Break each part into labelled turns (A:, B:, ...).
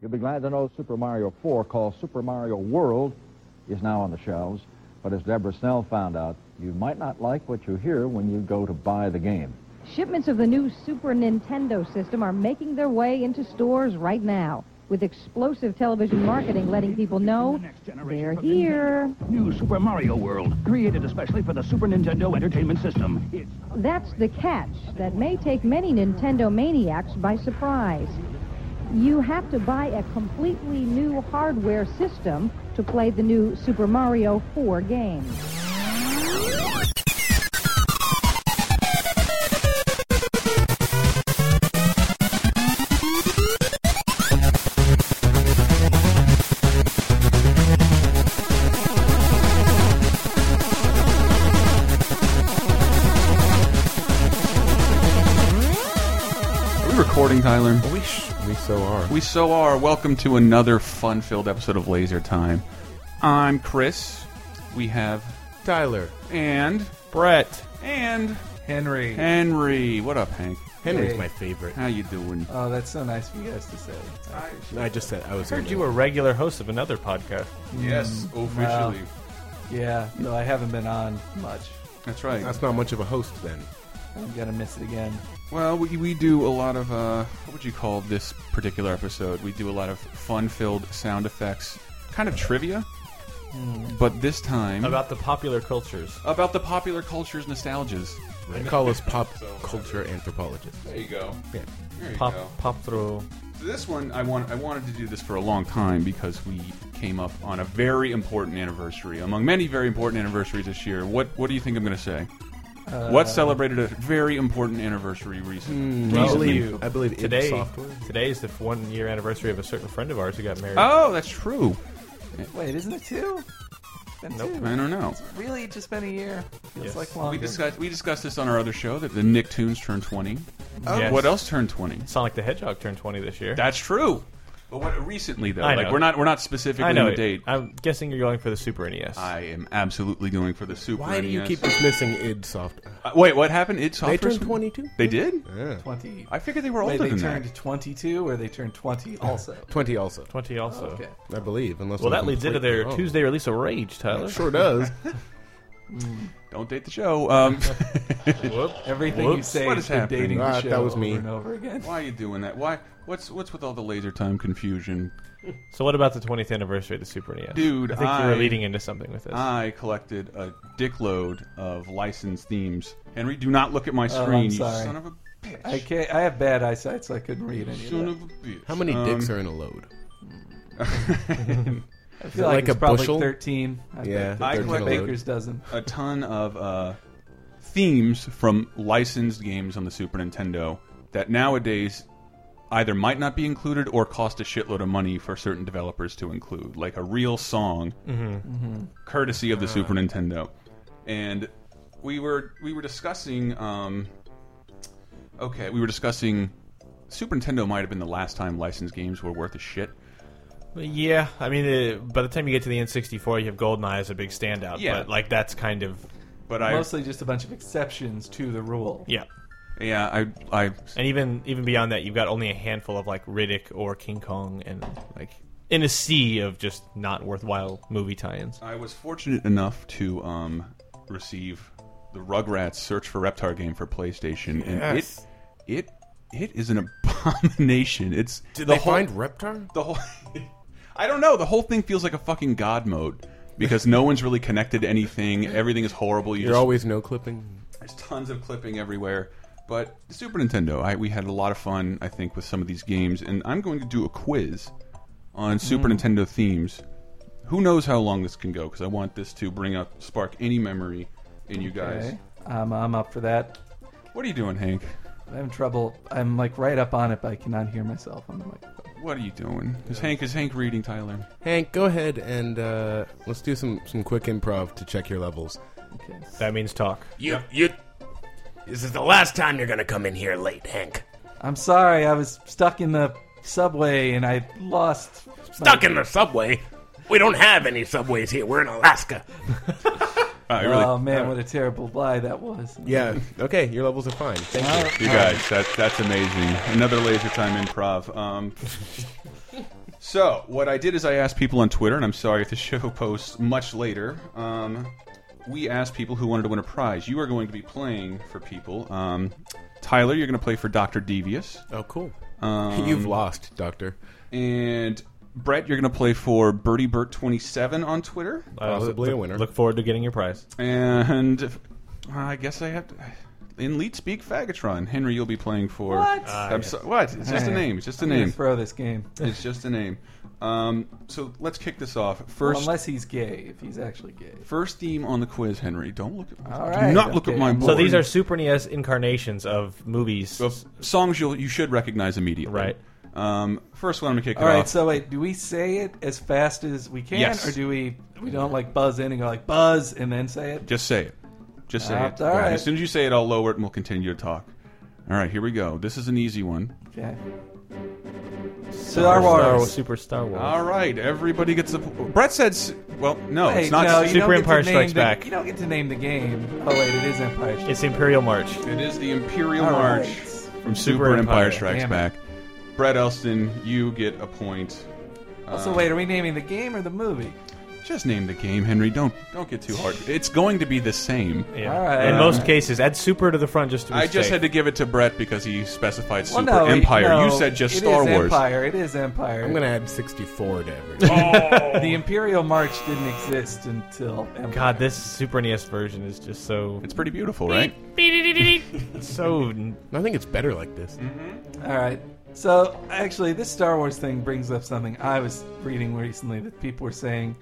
A: You'll be glad to know Super Mario 4, called Super Mario World, is now on the shelves. But as Deborah Snell found out, you might not like what you hear when you go to buy the game.
B: Shipments of the new Super Nintendo system are making their way into stores right now, with explosive television marketing letting people know they're here.
C: New Super Mario World, created especially for the Super Nintendo Entertainment System. It's
B: That's the catch that may take many Nintendo maniacs by surprise. You have to buy a completely new hardware system to play the new Super Mario 4 game.
D: Are we recording, Tyler?
E: We, sh- we so are.
D: We so are. Welcome to another fun-filled episode of Laser Time. I'm Chris. We have
E: Tyler.
D: and
E: Brett.
D: and
E: Henry.
D: Henry. What up, Hank?
E: Henry's my favorite.
D: How you doing?
F: Oh, that's so nice for you guys to say.
E: I just said I was.
G: I heard you were a regular host of another podcast.
D: yes,
F: officially. Yeah, no, I haven't been on much.
D: That's right.
E: That's not much of a host then.
F: I'm gonna miss it again.
D: Well, we, we do a lot of, uh, what would you call this particular episode? We do a lot of fun filled sound effects, kind of trivia, but this time
G: About the popular cultures.
D: about the popular culture's nostalgias.
E: They call us pop culture anthropologists.
D: There you go.
E: Yeah.
D: There you
G: Pop,
D: go.
G: pop through.
D: So this one, I, want, I wanted to do this for a long time because we came up on a very important anniversary, among many very important anniversaries this year. What, what do you think I'm going to say?
G: Uh,
D: what celebrated a very important anniversary recently?
E: I
G: Recently.
E: believe, I believe id
G: Today,
E: Software.
G: today is the one year anniversary of a certain friend of ours who got married.
D: Oh, that's true.
F: Wait, isn't it two? Been
G: Nope.
F: two.
D: I don't know.
F: Really, just been a year. Feels
G: Yes.
F: like
G: We
F: longer.
D: We discussed we discussed this on our other show that the Nicktoons turned 20.
G: Oh. Yes.
D: What else turned 20?
G: Sonic the Hedgehog turned 20 this year.
D: That's true. But what recently though?
G: I
D: like
G: know.
D: we're not we're not specifically
G: I know.
D: on a
G: it.
D: date. I,
G: I'm guessing you're going for the Super E NES.
D: am absolutely going for the Super
E: Why do you
D: NES.
E: keep dismissing id Software?
D: Uh, wait, what happened? It's
E: They turned 22.
D: They did?
F: twenty.
D: I figured they were
F: Wait,
D: older
F: they
D: than
F: turned
D: that.
F: twenty-two, or they turned twenty also.
E: 20 also,
G: 20 also.
F: Okay. Oh.
E: I believe. Unless
G: Well,
E: I'm
G: that leads into
E: completely
G: their
E: wrong.
G: Tuesday release of Rage, Tyler.
E: Sure does.
D: Don't date the show. Um,
G: Whoop.
F: Everything you
G: Whoops.
F: say
D: What
F: is
D: is
F: the
D: happening?
F: dating
E: Ah,
F: the
E: that
F: show
E: was me.
F: over and over again.
D: why are you doing that? Why what's what's with all the laser time confusion?
G: So, what about the 20th anniversary of the Super NES?
D: Dude,
G: I think you
D: I-
G: were leading into something with this.
D: I collected a dickload of licensed themes. Henry, do not look at my
F: Oh,
D: screen,
F: I'm
D: you
F: sorry.
D: son of a bitch.
F: I can't. I have bad eyesight, so I couldn't read any of
D: Son
F: that.
D: of a bitch.
E: How many
D: Um,
E: dicks are in a load?
F: I
E: it
F: feel like,
E: like
F: it's
E: a
F: probably
E: bushel?
F: thirteen. I
E: Yeah,
F: bet
D: I
E: they're in a
D: collect-
F: the
E: load.
F: baker's dozen.
D: a ton of uh, themes from licensed games on the Super Nintendo that nowadays either might not be included or cost a shitload of money for certain developers to include, like a real song, courtesy of the Super Nintendo. And we were we were discussing, um, okay, we were discussing. Super Nintendo might have been the last time licensed games were worth a shit.
G: But Yeah, I mean, uh, by the time you get to the N64, you have GoldenEye as a big standout.
D: Yeah.
G: But, like, that's kind of.
D: But I,
F: Mostly just a bunch of exceptions to the rule.
G: Yeah.
D: yeah, I, I
G: And even even beyond that, you've got only a handful of, like, Riddick or King Kong and, like, in a sea of just not worthwhile movie tie ins.
D: I was fortunate enough to um, receive the Rugrats Search for Reptar game for PlayStation, and
E: Yes.
D: it it it is an abomination. It's
E: Did
D: the
E: they
D: whole
E: find Reptar?
D: the whole. I don't know. The whole thing feels like a fucking god mode because no one's really connected to anything. Everything is horrible. You
E: You're
D: just,
E: always no clipping.
D: there's tons of clipping everywhere. But Super Nintendo, I, we had a lot of fun, I think, with some of these games, and I'm going to do a quiz on Super
F: Mm.
D: Nintendo themes. Who knows how long this can go? Because I want this to bring up, spark any memory in you guys.
F: Okay. Um, I'm up for that.
D: What are you doing, Hank?
F: I'm having trouble. I'm like right up on it, but I cannot hear myself on the microphone.
D: What are you doing? Is Hank is Hank reading Tyler?
E: Hank, go ahead and uh, let's do some, some quick improv to check your levels.
F: Okay.
G: That means talk.
E: You, you. This is the last time you're gonna come in here late, Hank.
F: I'm sorry. I was stuck in the subway and I lost.
H: stuck in the subway. We don't have any subways here. We're in Alaska.
D: I really,
F: Oh man, what a terrible lie that was.
E: Yeah. Okay, your levels are fine. Thank you.
D: you guys, that, that's amazing. Another laser time improv. Um, So what I did is I asked people on Twitter, and I'm sorry if the show posts much later. Um, we asked people who wanted to win a prize. You are going to be playing for people. Um, Tyler, you're going to play for Doctor Devious,
E: Oh, cool.
D: Um,
E: You've lost, Doctor.
D: and Brett, you're going to play for Bertie Burt 27 on Twitter.
E: Probably a winner.
I: Look forward to getting your prize.
D: And if- I guess I have to. In leet speak, fagatron. Henry, you'll be playing for
F: What? Ah,
D: I'm so- what? It's just a name. It's just a name.
F: Throw this game.
D: It's just a name. Um, so let's kick this off.
F: Well,
D: First,
F: unless he's gay, if he's actually gay.
D: first theme on the quiz, Henry. Don't look at.
F: All
D: do
F: right,
D: not look at
F: okay.
D: my board.
I: So these are Super
G: E
I: NES incarnations of movies,
D: Of songs you you should recognize immediately.
I: Right.
D: Um, first one, I'm gonna kick
F: All
D: it
F: right,
D: off.
F: so wait, do we say it as fast as we can,
D: Yes.
F: or do we we don't like buzz in and go like buzz and then say it?
D: Just say it. Just say
F: Uh,
D: it.
F: all
D: Go ahead.
F: right.
D: As soon as you say it, I'll lower it and we'll continue to talk. All right, here we go. This is an easy one.
F: Okay. Star Wars.
I: Star Wars, Super Star Wars.
D: All right, everybody gets a. Brett said. s- Well, no,
F: Wait,
D: Oh, it's not.
F: no, you
I: Super
F: don't get to
I: Empire
F: name
I: Strikes
F: the-
I: Back.
F: You don't get to name the game. Oh wait, it is Empire Strikes.
I: It's Imperial March.
D: It is the Imperial
F: All
D: March
F: right.
D: from Super,
I: Super
D: Empire,
I: Empire,
D: Strikes
F: damn it.
D: Back. Brett Elston, you get a point.
F: So wait, are we naming the game or the movie?
D: Just name the game, Henry. Don't don't get too hard. It's going to be the same.
I: Yeah.
F: All right.
I: In
F: Uh,
I: most cases, add Super to the front just to be
D: I just
I: safe.
D: had to give it to Brett because he specified
F: Well,
D: Super
F: no, it-
D: Empire.
F: no,
D: you said just
F: it
D: Star
F: is
D: Wars.
F: Empire. It is Empire.
E: I'm going to add 64 to everything.
H: Oh.
F: The Imperial March didn't exist until Empire.
I: God, this Super
G: E
I: NES version is just so
D: It's pretty beautiful, right?
I: so
E: I think it's better like this.
D: Mm-hmm.
F: All right. So actually, this Star Wars thing brings up something I was reading recently that people were saying,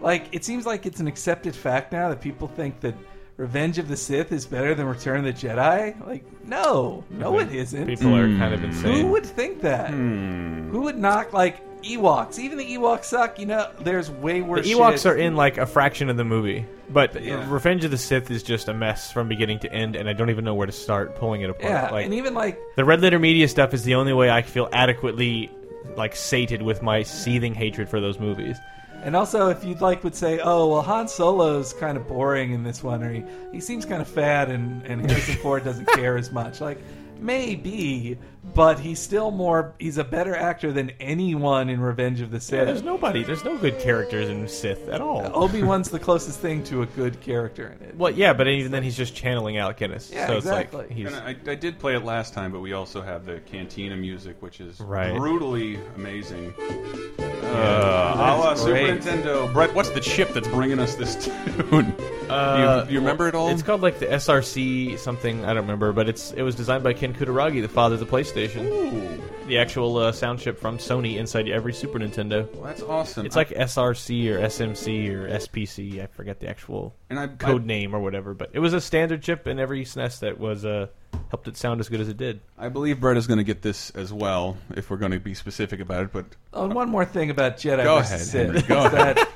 F: like it seems like it's an accepted fact now that people think that Revenge of the Sith is better than Return of the Jedi. Like, no, no, it isn't.
I: people are Hmm. kind of insane.
F: Who would think that? Who would knock like Ewoks? Even the Ewoks suck. You know, there's way
I: the
F: worse.
I: Ewoks
F: shit.
I: are in like a fraction of the movie, but
F: Yeah.
I: Revenge of the Sith is just a mess from beginning to end, and I don't even know where to start pulling it apart.
F: Yeah,
I: like,
F: and even like
I: the red letter media stuff is the only way I feel adequately like sated with my seething hatred for those movies.
F: And also, if you'd like, would say, oh, well, Han Solo's kind of boring in this one, or he, he seems kind of fat, and, and Harrison Ford doesn't care as much. Like, maybe, but he's still more, he's a better actor than anyone in Revenge of the
I: Yeah,
F: Sith.
I: there's nobody, there's no good characters in Sith at all.
F: Obi Wan's the closest thing to a good character in it.
I: Well, yeah, but even then he's just channeling Alec Guinness.
F: Yeah,
I: so it's like
F: exactly.
I: he's
D: And I, I did play it last time, but we also have the Cantina music, which is
I: Right.
D: brutally amazing. Uh, a la Super
I: great.
D: Nintendo. Brett, what's the chip that's bringing us this tune?
I: Uh,
D: you, you remember it all?
I: It's called like the SRC something. I don't remember, but it's it was designed by Ken Kutaragi, the father of the PlayStation.
D: Ooh,
I: The actual uh, sound chip from Sony inside every Super Nintendo.
D: that's awesome.
I: It's like SRC or SMC or SPC. I forget the actual
D: and I,
I: code name or whatever, but it was a standard chip in every SNES that was uh, helped it sound as good as it did.
D: I, I believe Brett is going to get this as well, if we're going to be specific about it. But
F: Oh, and one more thing about Jedi
D: Go
F: versus
D: ahead, Henry,
F: Sith.
D: go
F: is that-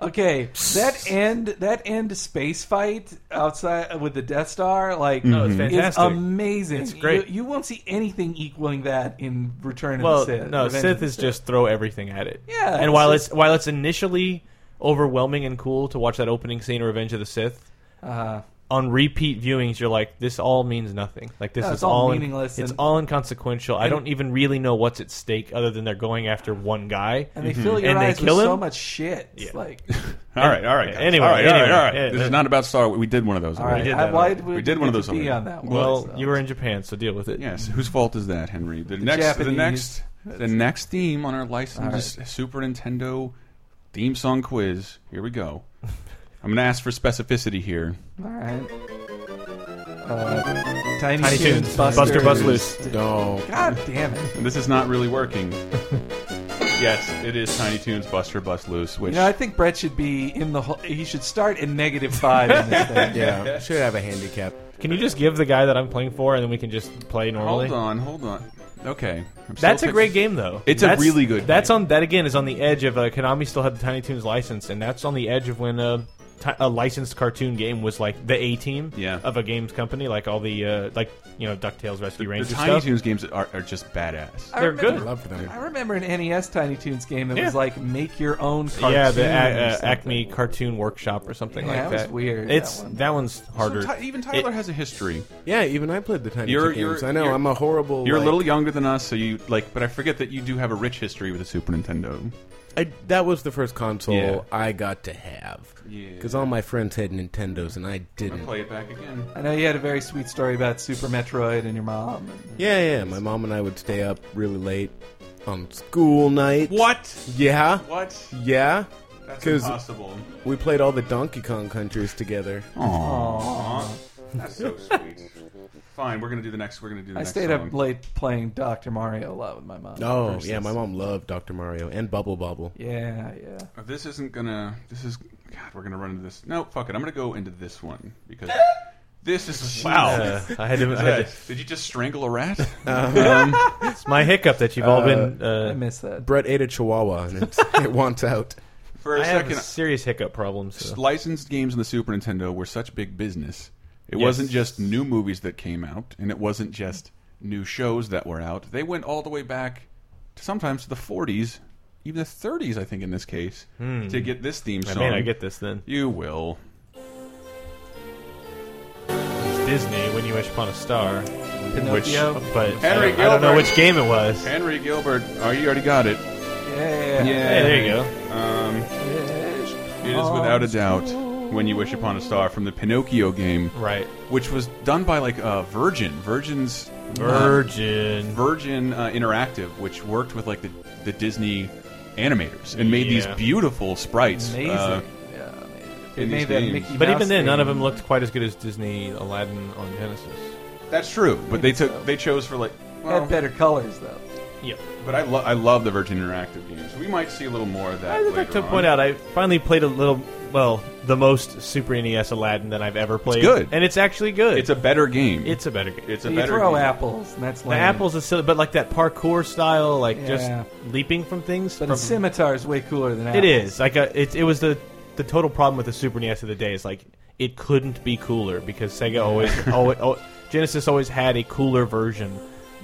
F: okay, that end that end space fight outside uh, with the Death Star, like,
I: No,
D: Mhm.
I: it's
F: is
I: fantastic.
F: amazing.
I: It's great.
F: You, you won't see anything equaling that in Return of
I: Well,
F: the Sith.
I: no,
F: Revenge of
I: Sith
F: the
I: is just throw everything at it.
F: Yeah,
I: and
F: it's
I: while
F: just-
I: it's while it's initially overwhelming and cool to watch that opening scene of Revenge of the Sith,
F: Uh,
I: on repeat viewings, you're like, this all means nothing. Like this
F: No,
I: is
F: it's all
I: in-
F: meaningless
I: it's
F: and-
I: all inconsequential. I don't even really know what's at stake other than they're going after one guy.
F: and
D: Mhm.
F: they fill your
I: And they
F: eyes
I: kill
F: with so
I: him?
F: much shit. It's Like,
D: all right, all right, guys.
I: Anyway,
D: all right, all right,
I: anyway.
D: all right.
I: Yeah,
D: this
I: yeah.
D: is not about Star Wars. We did one of those.
F: all
D: already.
F: right,
I: did
F: I,
I: that
F: why
I: already.
F: did we,
D: We did one of
F: get
D: those
F: to be
D: already.
F: on that one?
I: Well,
F: so.
I: you were in Japan, so deal with it.
D: Yes, whose fault is that, Henry? The, next, the
F: Japanese.
D: next, the next theme on our licensed Super Nintendo theme song quiz. Here we go. I'm going to ask for specificity here.
F: all right. Uh, Tiny,
I: Tiny Toons,
F: Toons,
I: Buster Bust
F: Busters.
E: No.
F: God damn it.
D: This is not really working. yes, it is Tiny Toons Buster Bust Loose, which
F: You know, I think Brett should be in the. Whole, he should start in negative five in this thing.
E: Yeah. Should have a handicap.
I: Can you just give the guy that I'm playing for, and then we can just play normally?
D: hold on, hold on. Okay, I'm still
I: That's a
D: fix-
I: great game, though.
D: It's a
I: That's-
D: really good
I: That's on that again is on the edge of uh, Konami still had the Tiny Toons license, and that's on the edge of when uh, ti- a licensed cartoon game was like the A team
D: Yeah.
I: of a games company, like all the uh, like you know Ducktales, Rescue
D: The
I: Rangers
D: Tiny
I: stuff.
D: Toons games are, are just badass.
F: I
I: They're
F: remember-
I: good.
E: Love them.
F: I remember an NES Tiny Toons game that
I: Yeah.
F: was like make your own cartoon.
I: yeah, the
F: or
I: a- uh,
F: something.
I: Acme Cartoon Workshop or something
F: Yeah,
I: like
F: that
I: that.
F: was weird, that
I: It's that,
F: one.
I: one's harder.
D: Ti- even Tyler
I: It-
D: has a history.
E: Yeah, even I played the Tiny
D: You're-
E: Toon games.
D: you're-
E: I know
D: you're-
E: I'm a horrible.
D: You're
E: like-
D: a little younger than us, so you like. But I forget that you do have a rich history with the Super Nintendo.
E: I, that was the first console
D: Yeah.
E: I got to have.
D: Yeah.
E: Because all my friends had Nintendos and I didn't.
D: Play it back again.
F: I know you had a very sweet story about Super Metroid and your mom.
E: Yeah, yeah. Oh, My mom and I would stay up really late on school night.
D: What?
E: Yeah.
D: What?
E: Yeah.
D: That's
E: 'Cause-
D: impossible.
E: We played all the Donkey Kong countries together.
D: Aww. That's so sweet. Fine, we're gonna do the next. We're gonna do. The
F: I
D: next
F: stayed
D: song.
F: up late playing Doctor Mario a lot with my mom.
E: Oh,
F: Versus-
E: yeah. My mom loved Dr. Mario and Bubble Bobble.
F: Yeah, yeah.
D: Uh, This isn't gonna. This is. God, we're gonna run into this. No, fuck it. I'm gonna go into this one because this is wow.
I: Uh, I had to. I had to
D: Did you just strangle a rat?
F: Uh,
I: it's my hiccup that you've all been.
F: I
I: Uh,
F: miss that.
E: Brett ate a chihuahua and it's, it wants out.
D: For a
I: I have
D: second,
I: serious hiccup problems. so-
D: licensed games on the Super Nintendo were such big business. It
I: Yes.
D: wasn't just new movies that came out, and it wasn't just new shows that were out. They went all the way back to sometimes the 40s, even the 30s, I think, in this case, to get this theme song.
I: Hmm. I mean, I get this then.
D: You will.
I: It's Disney when you wish upon a star, uh,
F: Pinocchio.
I: but
D: Henry
I: I, don't, I don't know
D: Gilbert.
I: which game it was.
D: Henry Gilbert. Oh, you already got it.
F: yeah,
I: Hey, there you go.
D: It is without a doubt When You Wish Upon a Star from the Pinocchio game,
I: Right,
D: which was done by like uh, Virgin. Virgin's
I: Virgin.
D: Virgin uh, Interactive, which worked with like the, the Disney animators and made these
I: Yeah.
D: beautiful sprites.
F: Amazing.
D: uh,
F: yeah, amazing.
D: in
F: It
D: these
F: made that
D: games.
F: Mickey
I: But
F: Mouse
I: even then, none
F: thing.
I: of them looked quite as good as Disney Aladdin on Genesis.
D: that's true, but they took they chose for like. Well,
F: had better colors though.
I: Yep.
D: but I, lo I love the Virgin Interactive games. We might see a little more of that.
I: I'd like
D: later
I: to
D: on.
I: point out, I finally played a little, well, the most Super NES Aladdin that I've ever played.
D: good.
I: and it's actually good.
D: it's a better game.
I: it's a better game.
D: it's a
F: You
D: better
F: throw
D: game.
F: apples, and that's
I: the
F: lame.
I: apples is silly, but like that parkour style, like
F: Yeah.
I: just leaping from things.
F: But
I: from-
F: a scimitar is way cooler than apples.
I: it is like a, it. It was the the total problem with the Super NES of the day is like it couldn't be cooler because Sega always, always oh, Genesis always had a cooler version.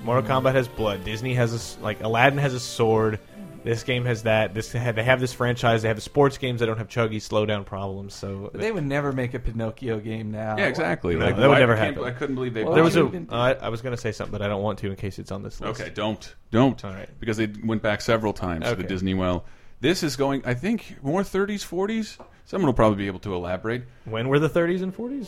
I: Mortal Kombat has blood. Disney has a, s- like Aladdin has a sword. This game has that. This they have this franchise. They have sports games. They don't have chuggy slowdown problems. So uh,
F: But they would never make a Pinocchio game now.
D: Yeah, exactly.
I: No,
D: Like,
I: that would
D: why-
I: never
D: I can't-
I: happen.
D: I couldn't believe they.
F: Well,
I: There was a.
F: Why
I: Uh,
F: would you even do
I: I I was going to say something, but I don't want to in case it's on this list.
D: Okay, don't. Don't.
I: All right.
D: Because they went back several times to the
I: Okay.
D: Disney well. This is going, I think, more 30s, 40s. Someone will probably be able to elaborate.
I: When were the 30s and 40s?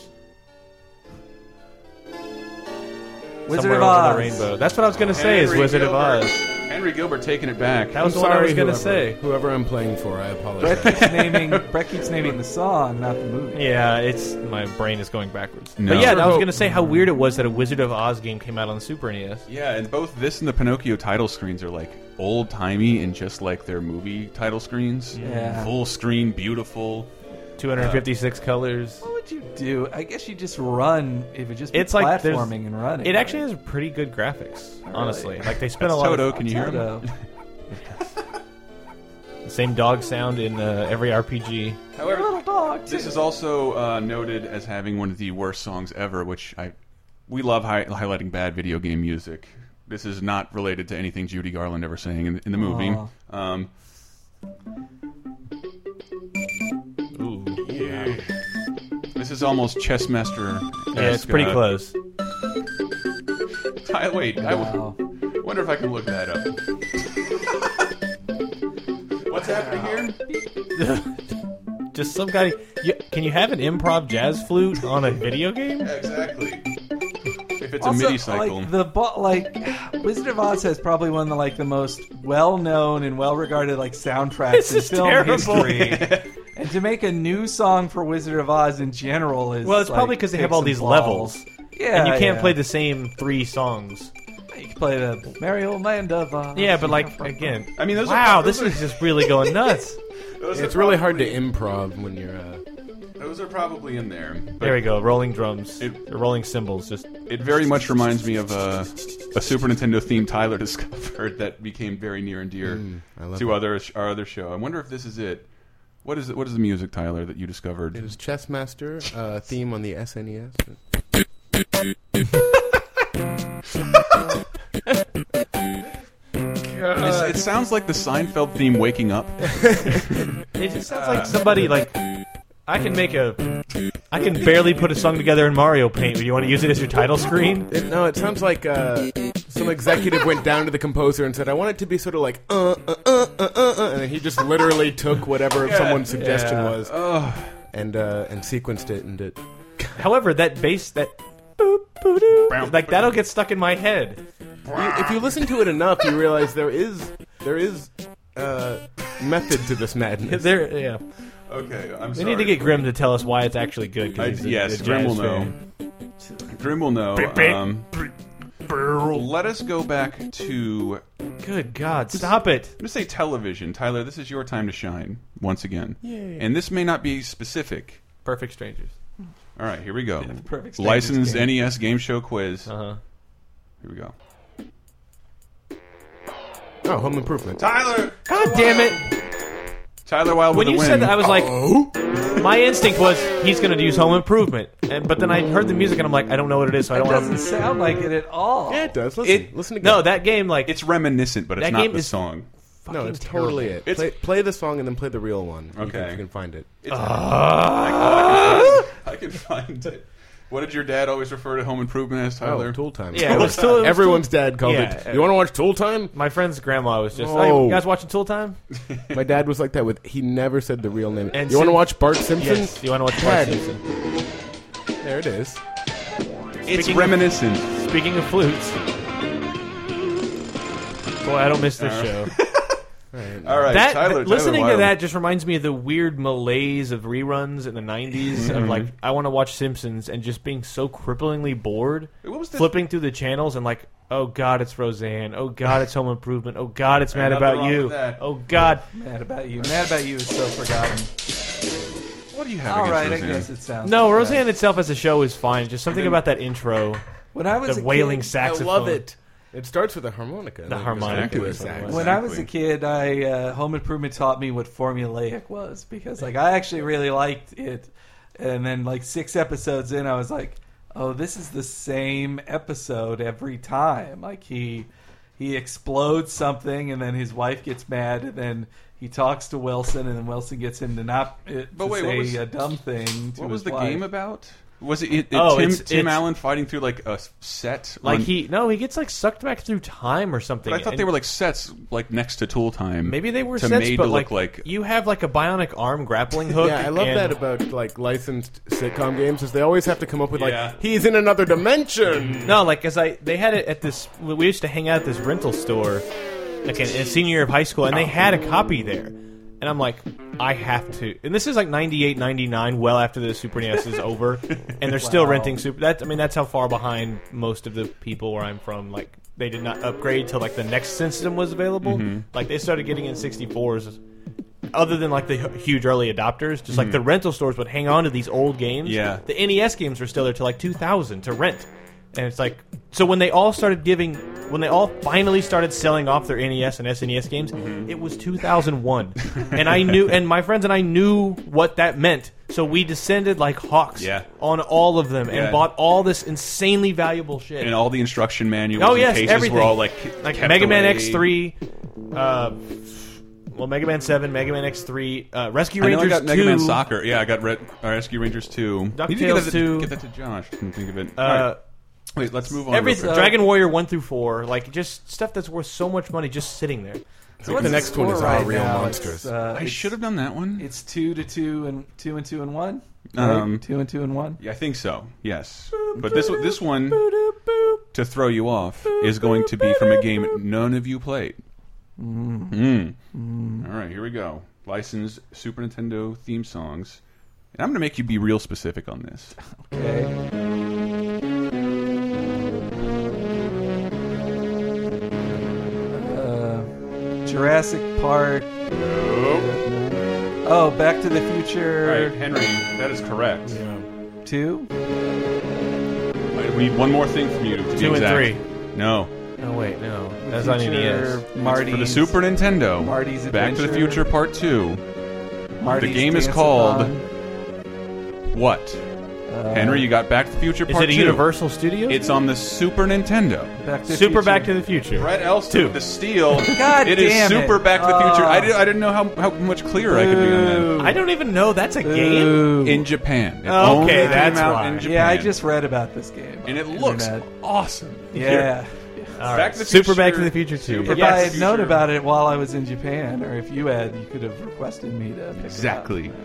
F: Wizard
I: Somewhere
F: of
I: over
F: Oz.
I: the rainbow. That's what I was going to say. is
D: Henry
I: Wizard
D: Gilbert-
I: of Oz?
D: Henry Gilbert taking it back.
I: That was
E: I'm
I: the one I
E: sorry,
I: was going to
E: whoever-
I: say.
E: Whoever I'm playing for, I apologize.
F: Brett keeps naming Brett keeps naming the song, not the movie.
I: Yeah, it's my brain is going backwards.
D: No.
I: But yeah, I was
D: Turbo-
I: going to say how weird it was that a Wizard of Oz game came out on the Super E NES.
D: Yeah, and both this and the Pinocchio title screens are like old timey and just like their movie title screens.
F: Yeah.
D: Full screen, beautiful.
I: 256 colors.
F: What would you do? I guess you just run. It would just be
I: It's like there's-
F: platforming and running.
I: It actually has pretty good graphics, honestly. Like they spent a
D: That's
I: lot
D: Toto,
I: of
D: can you hear him?
F: Toto.
I: same dog sound in uh, every RPG.
D: However,
F: little dog. Too.
D: This is also uh, noted as having one of the worst songs ever, which I we love hi highlighting bad video game music. This is not related to anything Judy Garland ever sang in, in the movie.
F: Aw.
D: Um,
I: Ooh,
D: this is almost chess master.
I: yeah, it's pretty close.
D: I, wait, I w-
F: Wow.
D: wonder if I can look that up. What's happening here?
I: Just some guy. You, can you have an improv jazz flute on a video game?
D: Exactly. If it's
F: also,
D: a MIDI cycle,
F: Like the bo- like Wizard of Oz has probably one of the, like the most well-known and well-regarded like soundtracks
I: This
F: in
I: is
F: film
I: terrible.
F: history. and to make a new song for Wizard of Oz in general is
I: Well, it's
F: like,
I: probably because they have
F: takes
I: all
F: some
I: these
F: balls.
I: levels,
F: Yeah,
I: and you can't
F: yeah.
I: play the same three songs.
F: You can play the Merry Old Land of Oz.
I: Yeah, but like again,
D: I mean, those are
I: wow,
D: prob-
I: this
D: those
I: is just really going nuts.
D: those
E: it's
D: are
E: really hard to
D: probably-
E: improv when you're. Uh,
D: Those are probably in there. but-
I: There we go, rolling drums,
D: It-
I: or rolling cymbals. Just
D: It very much reminds me of a, a Super Nintendo theme Tyler discovered that became very near and dear
E: Mm, I love
D: to
E: it.
D: other our other show. I wonder if this is it. What is it, what is the music, Tyler, that you discovered?
E: It was Chessmaster uh, theme on the SNES.
D: It's- it sounds like the Seinfeld theme waking up.
I: It just sounds
D: Uh,
I: like somebody like I can make a I can barely put a song together in Mario Paint. Do you want to use it as your title screen?
E: It, no, it sounds like uh, some executive went down to the composer and said, "I want it to be sort of like uh uh uh uh uh,", uh and then he just literally took whatever someone's suggestion
I: Yeah.
E: was and uh, and sequenced it and did.
I: However, that bass that boop, boop, like that'll get stuck in my head.
E: You- if you listen to it enough, you realize there is there is uh, method to this madness.
I: There, yeah.
D: Okay, I'm
I: We need to get Grim to tell us why it's actually good. 'cause
D: I,
I: he's a-
D: yes,
I: a
D: Grim will
I: jazz
D: know.
I: fan.
D: Grim will know. Um, let us go back to. I'm
I: Good God, stop it!
D: going to say television. Tyler, this is your time to shine once again. And this may not be specific.
I: Perfect strangers.
D: All right, here we go.
F: Perfect standards
D: Licensed
F: game.
D: NES game show quiz.
I: Uh huh.
D: Here we go.
E: Oh, Home Improvement.
D: Tyler!
I: God damn it!
D: Tyler Wilde
I: When
D: with
I: you
D: the win.
I: said that, I was like,
D: Oh?
I: my instinct was he's going to use Home Improvement, and, but then I heard the music and I'm like, I don't know what it is, so I
F: It
I: don't
F: doesn't
I: want to.
F: sound like it at all.
E: Yeah, it does. Listen,
D: It-
E: listen again.
I: No, that game like
D: It's reminiscent, but it's
I: That
D: not
I: game
D: the
I: is-
D: song.
E: no, it's
I: terrible.
E: totally it.
D: It's-
E: play, play the song and then play the real one. You can-
D: Okay.
E: you can find it.
D: It's
I: ah!
D: I, can, I can find it. What did your dad always refer to Home Improvement as, Tyler?
E: Oh, Tool Time.
I: Yeah, it was Tool- it was
E: Everyone's dad called
I: Yeah,
E: it.
I: uh,
E: You want to watch Tool Time?
I: My friend's grandma was just,
E: No.
I: "Oh, you guys watching Tool Time?
E: My dad was like that with he never said the real name.
I: And
E: you want to
I: Sim-
E: watch Bart Simpson?
I: Yes. You want to watch
E: Dad.
I: Bart Simpson?
E: There it is.
D: it's
I: Speaking-
D: reminiscent.
I: Speaking of flutes. Boy, I don't miss this show.
D: All right,
I: That
D: Tyler. Tyler
I: th- listening to
D: Wilde.
I: that just reminds me of the weird malaise of reruns in the '90s. Of like,
D: Mm-hmm.
I: I want to watch Simpsons and just being so cripplingly bored,
D: What was the-
I: flipping through the channels and like, oh god, it's Roseanne. Oh god, it's Home Improvement. Oh god, it's Mad
D: nothing
I: About
D: wrong
I: You.
D: with that.
I: Oh god,
F: Mad about you. Mad about you is so forgotten.
D: What do you have
F: All
D: against
F: right,
D: Roseanne?
F: I guess it sounds.
I: no,
F: like
I: Roseanne
F: That.
I: itself as a show is fine. Just something about that intro,
F: When I was
I: the
F: a
I: wailing
F: kid,
I: saxophone.
E: I love it. It starts with a harmonica.
I: The harmonica
D: is what it was.
F: When I was a
D: Exactly.
F: kid, I uh, Home Improvement taught me what formulaic was because, like, I actually really liked it, and then like six episodes in, I was like, "Oh, this is the same episode every time." Like he he explodes something, and then his wife gets mad, and then he talks to Wilson, and then Wilson gets him to not uh,
D: But
F: to
D: wait,
F: say
D: what was-
F: a dumb thing. To
D: What was
F: his
D: the
F: wife.
D: game about? Was it, it, it
I: Oh,
D: Tim,
I: it's-
D: Tim
I: it's-
D: Allen fighting through like a s- set?
I: Like
D: on-
I: he no, he gets like sucked back through time or something.
D: But I thought
I: and
D: they were like sets, like next to Tool Time.
I: maybe they were
D: to
I: sets,
D: made
I: but
D: to
I: like,
D: look like.
I: you have like a bionic arm grappling hook.
E: Yeah, I love
I: and-
E: that about like licensed sitcom games is they always have to come up with like
D: Yeah.
E: he's in another dimension.
I: No, like as I, they had it at this. We used to hang out at this rental store, like in, in senior year of high school, and they had a copy there. And I'm like, I have to. And this is like 98, 99, well after the Super NES is over, and they're still renting Super. That I mean, that's how far behind most of the people where I'm from. Like they did not upgrade till like the next system was available. Like they started getting in 64s. Other than like the h- huge early adopters, just like the rental stores would hang on to these old games.
D: Hmm. Yeah.
I: the NES games were still there till like 2000 to rent. And it's like, so when they all started giving, when they all finally started selling off their NES and SNES games,
D: Mm-hmm.
I: it was 2001. and I knew, and my friends and I knew what that meant. So we descended like hawks
D: Yeah.
I: on all of them
D: Yeah.
I: and bought all this insanely valuable shit.
D: and all the instruction manuals
I: oh,
D: and
I: yes,
D: cases
I: everything.
D: were all like
I: like
D: kept
I: Mega Man
D: away.
I: X3, uh, well, Mega Man 7, Mega Man X3, uh, Rescue
D: I know I got
I: Rangers 2.
D: Mega Man Soccer. Yeah, I got Red uh, Rescue Rangers 2.
I: DuckTales
D: You need to give that to-
I: 2.
D: Give that to Josh. I can think of it.
I: uh,
D: All right. Wait, let's move on. real
I: Everything,
D: quick.
I: Dragon Warrior one through four, like just stuff that's worth so much money just sitting there.
F: So what's
E: The next one
F: score
E: is Our
F: right
E: Real
F: now?
E: Monsters.
F: It's, uh,
D: I
F: it's-
D: should have done that one.
F: It's two to two and two and two and one. Right?
D: Um,
F: two and two and one.
D: Yeah, I think so. Yes, but this this one to throw you off is going to be from a game none of you played.
I: Mm-hmm.
D: Mm. All right, here we go. Licensed Super Nintendo theme songs, and I'm going to make you be real specific on this.
F: Okay. Uh, Jurassic Park. Oh, Back to the
D: All right,
F: Future
D: Henry, that is correct.
F: Two.
D: All right, we need one more thing from you. To
I: Two
D: be
I: and
D: exact.
I: three.
D: Oh, No,
I: No wait, no, that's
D: E
F: Future
I: not an NES.
F: Marty.
D: for the Super Nintendo.
F: Marty's
D: Back to the
F: Adventure.
D: Future Part Two.
F: Marty's
D: game is
F: Dance-a-thon.
D: called- What? Henry, you got Back to the Future
G: Is
D: Part
G: it a
D: two.
G: Universal Studio?
D: It's on the Super Nintendo.
F: Back to the
G: Super
F: Future.
G: Back to the Future.
D: Brett Elston with the steel.
F: God
D: It is
F: damn it.
D: Super Back to the Future. I,
F: Oh.
D: did, I didn't know how, how much clearer I could be on
G: I don't even know that's a game.
F: Ooh.
D: that. In Japan. It
G: Oh,
D: only
G: okay,
D: came
G: that's
D: out
G: why.
D: in Japan.
F: Yeah, I just read about this game. on
D: And it
F: the
D: looks
F: internet.
D: awesome.
F: Yeah.
G: All
D: Back to the
G: Super
D: Future-
G: Back to the Future Two.
D: Super
F: If
D: Back
F: I
D: to
F: had
D: the
F: known
D: Future.
F: about it while I was in Japan, or if you had, you could have requested me to. Pick It
D: Exactly.
F: up.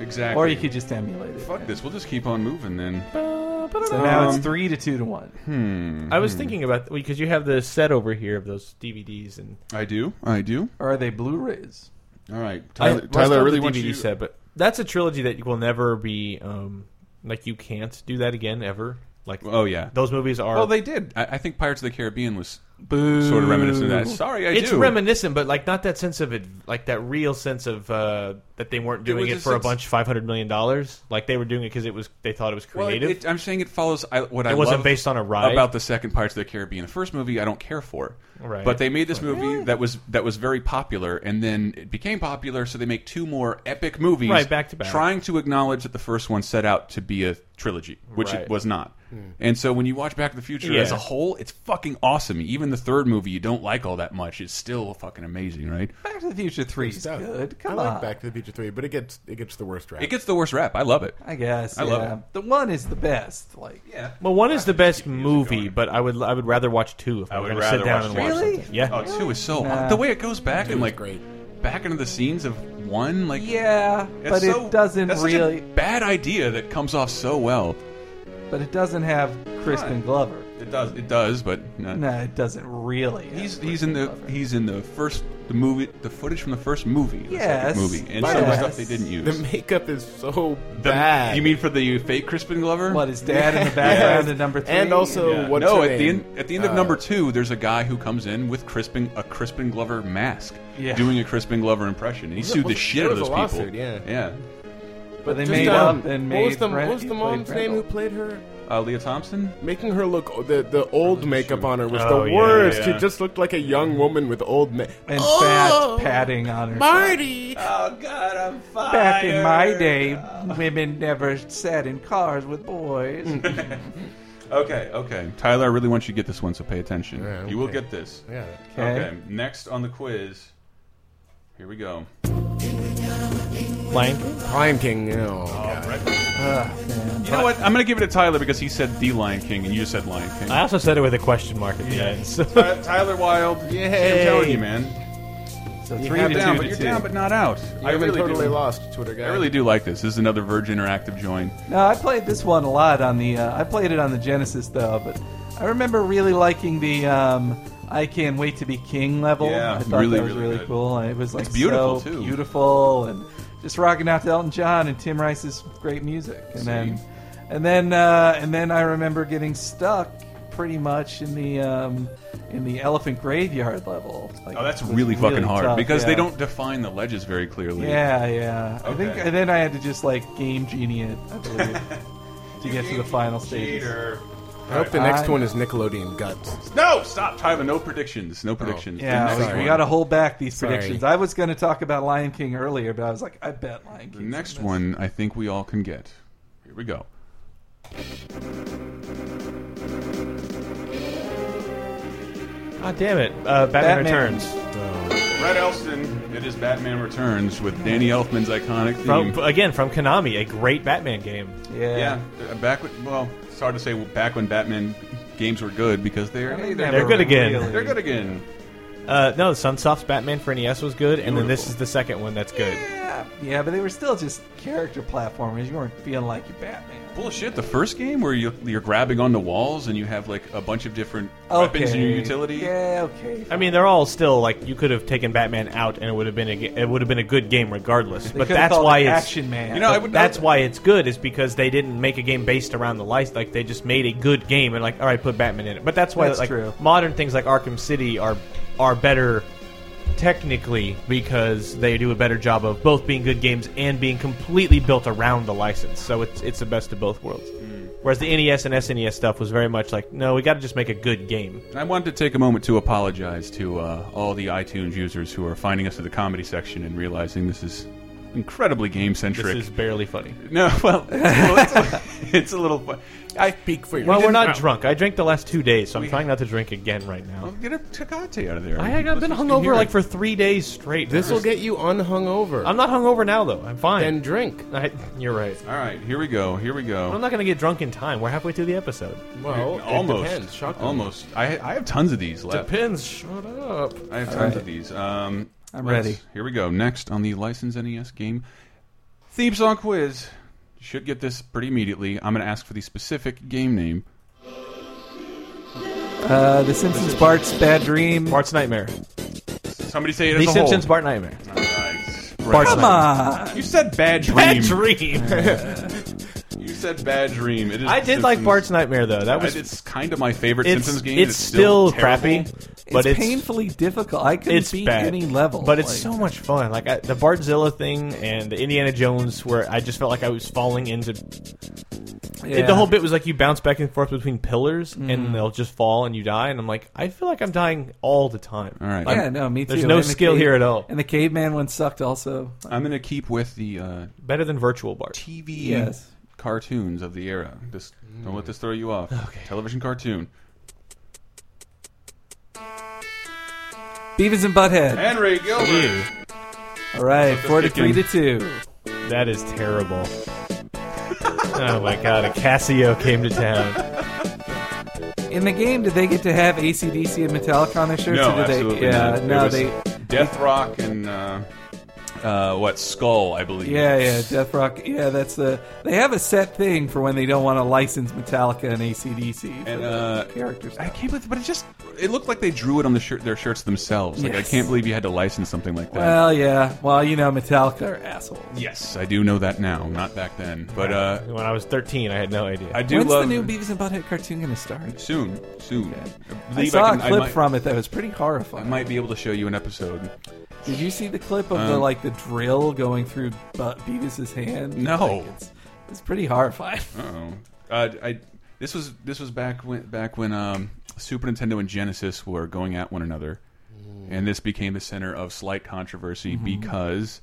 D: Exactly.
F: Or you could just emulate it.
D: Fuck this. We'll just keep on moving then.
F: So now it's
D: Um,
F: three to two to one.
G: I was thinking about because you have the set over here of those DVDs and
D: I do. I do.
F: Or are they Blu-rays?
D: All right.
G: I-
D: Tyler,
G: well,
D: Tyler I
G: still
D: really
G: the
D: want
G: DVD
D: you.
G: set, but that's a trilogy that will never be um, like you can't do that again ever. Like
D: Oh, yeah.
G: those movies are.
D: Well, they did. I, I think Pirates of the Caribbean was sort of reminiscent of that. Sorry, I
G: it's
D: do.
G: reminiscent, but like not that sense of it, like that real sense of uh, that they weren't doing
D: was
G: it,
D: a
G: for a
D: sense-
G: bunch five hundred million dollars. Like they were doing it because it was they thought it was
D: Well, it,
G: creative.
D: it- I'm saying it follows I, what I
G: It wasn't
D: love
G: based on a ride.
D: about the second Pirates of the Caribbean. The first movie I don't care for,
G: Right.
D: but they made this movie that was that was very popular, and then it became popular. So they make two more epic movies,
G: Right, back to back.
D: trying to acknowledge that the first one set out to be a trilogy, which
G: Right.
D: it was not. And so when you watch Back to the Future
G: Yeah.
D: as a whole, it's fucking awesome. Even the third movie you don't like all that much is still fucking amazing, right?
F: Back to the Future Three is
E: Stuff.
F: good.
E: I
F: Come
E: like
F: on.
E: Back to the Future Three, but it gets it gets the worst rap.
D: It gets the worst rap. I love it.
F: I guess.
D: I
F: yeah.
D: love it.
F: The one is the best. Like yeah.
G: well, one is the best movie, but I would I would rather watch two if I,
D: would
G: were going to
D: rather
G: sit down
D: watch
G: and
D: two.
G: watch.
F: Really?
G: something. Yeah.
D: Oh, two is so
F: Nah.
D: the way it goes back and like
E: great.
D: back into the scenes of one, like
F: Yeah,
D: It's
F: but
D: so-
F: it doesn't
D: that's such a
F: really.
D: bad idea that comes off so well.
F: But it doesn't have Crispin Glover.
D: It does. It does, but no.
F: No, it doesn't really. have
D: He's he's
F: Crispin
D: in the
F: Glover.
D: he's in the first the movie the footage from the first movie. the second
F: Yes.
D: movie and some of the
F: Yes.
D: stuff they didn't use.
E: the makeup is so
D: The-
E: bad.
D: You mean for the fake Crispin Glover?
F: What his dad in the background at number three,
E: and also
D: Yeah.
E: what's
D: no,
E: her
D: at the
E: name?
D: end, at the end of
E: Uh,
D: number two, there's a guy who comes in with Crispin a Crispin Glover mask,
F: Yeah.
D: doing a Crispin Glover impression, and he
E: it-
D: sued the
E: was-
D: shit
E: there
D: out of
E: was
D: those
E: a
D: people.
E: lawsuit, yeah.
D: yeah.
F: but they
E: Just,
F: made
E: um,
F: up and made.
E: what was the,
F: Brent-
E: what was the
F: he played
E: mom's name who
F: Brendel.
E: played her?
D: Uh, Leah Thompson.
E: Making her look the the old makeup on her was
G: Oh,
E: the
G: yeah,
E: worst.
G: yeah.
E: She just looked like a young woman with old ma-
F: and
E: Oh,
F: fat padding on her.
E: Marty.
D: Oh God, I'm fired.
F: Back in my day, women never sat in cars with boys.
E: Mm.
D: Okay, okay. Tyler, I really want you to get this one, so pay attention.
E: Yeah,
D: You will
E: okay.
D: get this.
E: Yeah.
F: Okay.
D: okay. Next on the quiz. Here we go.
G: Blank.
E: Lion King. Oh, God.
D: You know what? I'm going to give it to Tyler because he said the Lion King and you just said Lion King.
G: I also said it with a question mark at the end. So.
D: Ty- Tyler Wilde. I'm telling you, man.
F: So three
E: have
F: to
D: Down, but
F: two to
D: you're
F: two.
D: down, but not out. I
E: I
D: really
E: totally
D: do.
E: lost Twitter guy.
D: I really do like this. This is another Verge Interactive joint.
F: No, I played this one a lot on the. Uh, I played it on the Genesis though, but I remember really liking the. Um, I can't wait to be king level.
D: Yeah,
F: I thought
D: really,
F: that was
D: really
F: really
D: good.
F: cool. and It was like
D: It's beautiful,
F: so
D: too.
F: beautiful, and just rocking out to Elton John and Tim Rice's great music, and then, and then, uh, and then I remember getting stuck pretty much in the um, in the elephant graveyard level. Like,
D: Oh, that's
F: it was
D: really fucking hard
F: tough,
D: because they
F: yeah.
D: don't define the ledges very clearly.
F: Yeah, yeah. I think
D: Okay.
F: and then I had to just like game genie it, I believe, to get to the final stages.
D: Cheater.
E: I hope the next
F: I-
E: one is Nickelodeon Guts.
D: No, stop, Tyler. No predictions. No predictions. The
F: Oh, Yeah,
D: next
E: sorry.
F: we
D: one.
F: got to hold back these
E: Sorry.
F: predictions. I was going to talk about Lion King earlier, but I was like, I bet Lion
D: The
F: King.
D: next one I think we all can get. Here we go.
G: God damn it! Uh, Batman,
F: Batman.
G: Returns.
D: Red Elston, it is Batman Returns with Danny Elfman's iconic theme.
G: From, again, from Konami, a great Batman game.
F: Yeah.
D: yeah, uh, back when, well, it's hard to say back when Batman games were good because they're hey, they're,
G: They're good again.
F: really-
D: they're good again.
G: Uh, no, Sunsoft's Batman for NES was good, and then this is the second one that's good.
F: Yeah, yeah, but they were still just character platformers. You weren't feeling like you're Batman.
D: Bullshit, the first game where you, you're grabbing on the walls and you have like a bunch of different weapons in your
F: Okay.
D: utility.
F: Yeah, okay.
G: I mean, they're all still like you could have taken Batman out, and it would have been a ge- it would have been a good game regardless. but
F: could've
G: that's
F: called
G: why
F: it
G: it's
F: Action Man.
D: You know, I
G: but
D: would
G: that's
D: not-
G: why it's good is because they didn't make a game based around the license. Like they just made a good game and like all right, put Batman in it. But that's why
F: That's
G: like
F: true.
G: modern things like Arkham City are are better technically because they do a better job of both being good games and being completely built around the license. So it's it's the best of both worlds. Whereas the NES and SNES stuff was very much like no, we got to just make a good game.
D: And I wanted to take a moment to apologize to uh, all the iTunes users who are finding us in the comedy section and realizing this is incredibly game centric.
G: This is barely funny.
D: no, well, well, it's, it's a little. fu- I
E: Speak for
G: Well,
E: yourself.
G: we're not drunk. I drank the last two days, so I'm trying not to drink again right now.
D: get a tecate out of there.
G: I, I've been
D: Listeners can hear
G: hungover
D: it.
G: like for three days straight.
E: This will
G: Just-
E: get you unhungover.
G: I'm not hungover now though. I'm fine.
E: and drink.
G: I, you're right.
D: All right, here we go. Here we go.
G: But I'm not gonna get drunk in time. We're halfway through the episode.
E: Well, Oh, it
D: almost.
E: depends. Shotgun.
D: Almost. I I have tons of these left.
G: Depends. Shut up.
D: I have tons of these. Um,
I: I'm
D: let's-
I: ready.
D: Here we go. Next on the licensed NES game theme song quiz. Should get this pretty immediately. I'm going to ask for the specific game name.
I: Uh, the Simpsons Bart's Bad Dream.
G: Bart's nightmare.
D: Somebody say it
G: The
D: as a
G: Simpsons
D: whole.
G: Bart nightmare.
D: Nice.
G: Bart's
I: Come on.
D: You said bad dream.
G: Bad dream.
D: You said bad dream. It is
G: I did like
D: Simpsons-
G: Bart's nightmare though. That
D: I-
G: was
D: It's kind of my favorite
G: it's
D: Simpsons game.
G: it's still
D: terrible.
G: crappy, but
I: It's,
G: it's
I: painfully difficult. I couldn't
G: it's
I: beat
G: bad.
I: any level.
G: but it's
I: like-
G: so much fun. Like I, the Bartzilla thing and the Indiana Jones, where I just felt like I was falling into.
I: Yeah.
G: the whole bit was like you bounce back and forth between pillars,
D: Mm-hmm.
G: and they'll just fall and you die. And I'm like, I feel like I'm dying all the time.
D: All right.
I: Yeah,
D: I'm,
I: no, me too.
G: There's no
I: And the
G: skill here at all.
I: And the caveman one sucked also.
D: I'm going to keep with the uh,
G: Better than virtual Bart.
D: TV
I: Yes.
D: cartoons of the era. Just don't let this throw you off. Television cartoon.
I: Beavis and Butthead.
D: Henry Gilbert.
G: Ew,
I: All right, four to three
D: kicking.
I: to two.
G: that is terrible. oh my god, a Casio came to town.
I: In the game, did they get to have ACDC and Metallica on their shirts?
D: No,
I: or did
D: absolutely
I: they, Yeah,
D: not. It
I: no,
D: was
I: they.
D: Death Rock and uh, uh, what Skull, I believe.
I: Yeah, yeah, Death Rock. Yeah, that's the. They have a set thing for when they don't want to license Metallica and ACDC. for
D: And
I: the
D: uh,
I: characters.
D: I can't believe, but it just—it looked like they drew it on the shirt, their shirts themselves. Like I
I: Yes.
D: can't believe you had to license something like that.
I: Well, yeah. Well, you know, Metallica are assholes.
D: yes, I do know that now, not back then. But uh,
G: When I was 13, I had no idea.
D: I do
I: When's
D: love
I: the new Beavis and Butthead cartoon going to start?
D: soon, soon. I,
I: I
D: believe
I: saw
D: I can-
I: a
D: I
I: clip
D: might,
I: from it that was pretty
D: I
I: horrifying.
D: might be able to show you an episode.
I: Did you see the clip of the
D: Um,
I: like the drill going through but Beavis's hand?
D: No.
I: Like, it's, it's pretty horrifying.
D: Uh-oh. Uh, I this was this was back when back when um, Super Nintendo and Genesis were going at one another,
I: Mm.
D: and this became the center of slight controversy
I: Mm-hmm.
D: because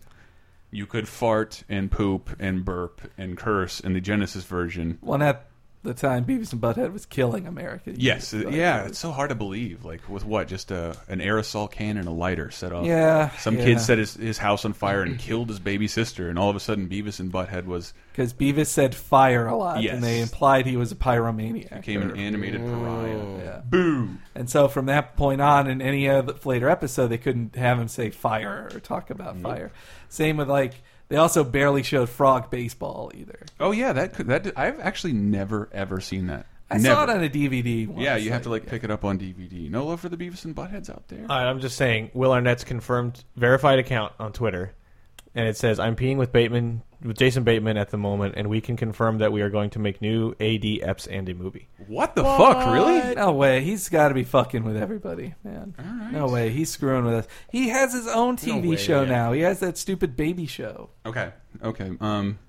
D: you could fart and poop and burp and curse in the Genesis version.
I: Well, at the time, Beavis and Butthead was killing America.
D: Yes,
I: But-
D: yeah, it's so hard to believe. Like with what? Just a an aerosol can and a lighter set off.
I: Yeah,
D: Some
I: yeah.
D: kid set his, his house on fire and killed his baby sister, and all of a sudden Beavis and Butthead was
I: Because Beavis said fire a lot,
D: Yes.
I: and they implied he was a pyromaniac.
D: became an
I: or-
D: animated pariah.
I: yeah.
D: Boo.
I: And so from that point on, in any other later episode, they couldn't have him say fire or talk about fire. Same with like they also barely showed frog baseball either.
D: Oh yeah, that could that I've actually never ever seen that.
I: I
D: never.
I: saw it on a DVD. Once.
D: Yeah, you have to like pick it up on DVD. No love for the Beavis and Buttheads out there.
G: All right, I'm just saying, Will Arnett's confirmed verified account on Twitter, and it says, "I'm peeing with Bateman, with Jason Bateman at the moment, and we can confirm that we are going to make new AD Epps and a movie."
D: what the fuck, really?
I: No way. He's got to be fucking with everybody, man. No way. He's screwing with us. He has his own TV
G: way,
I: show
G: yeah.
I: now. He has that stupid baby show.
D: Okay, okay. Um,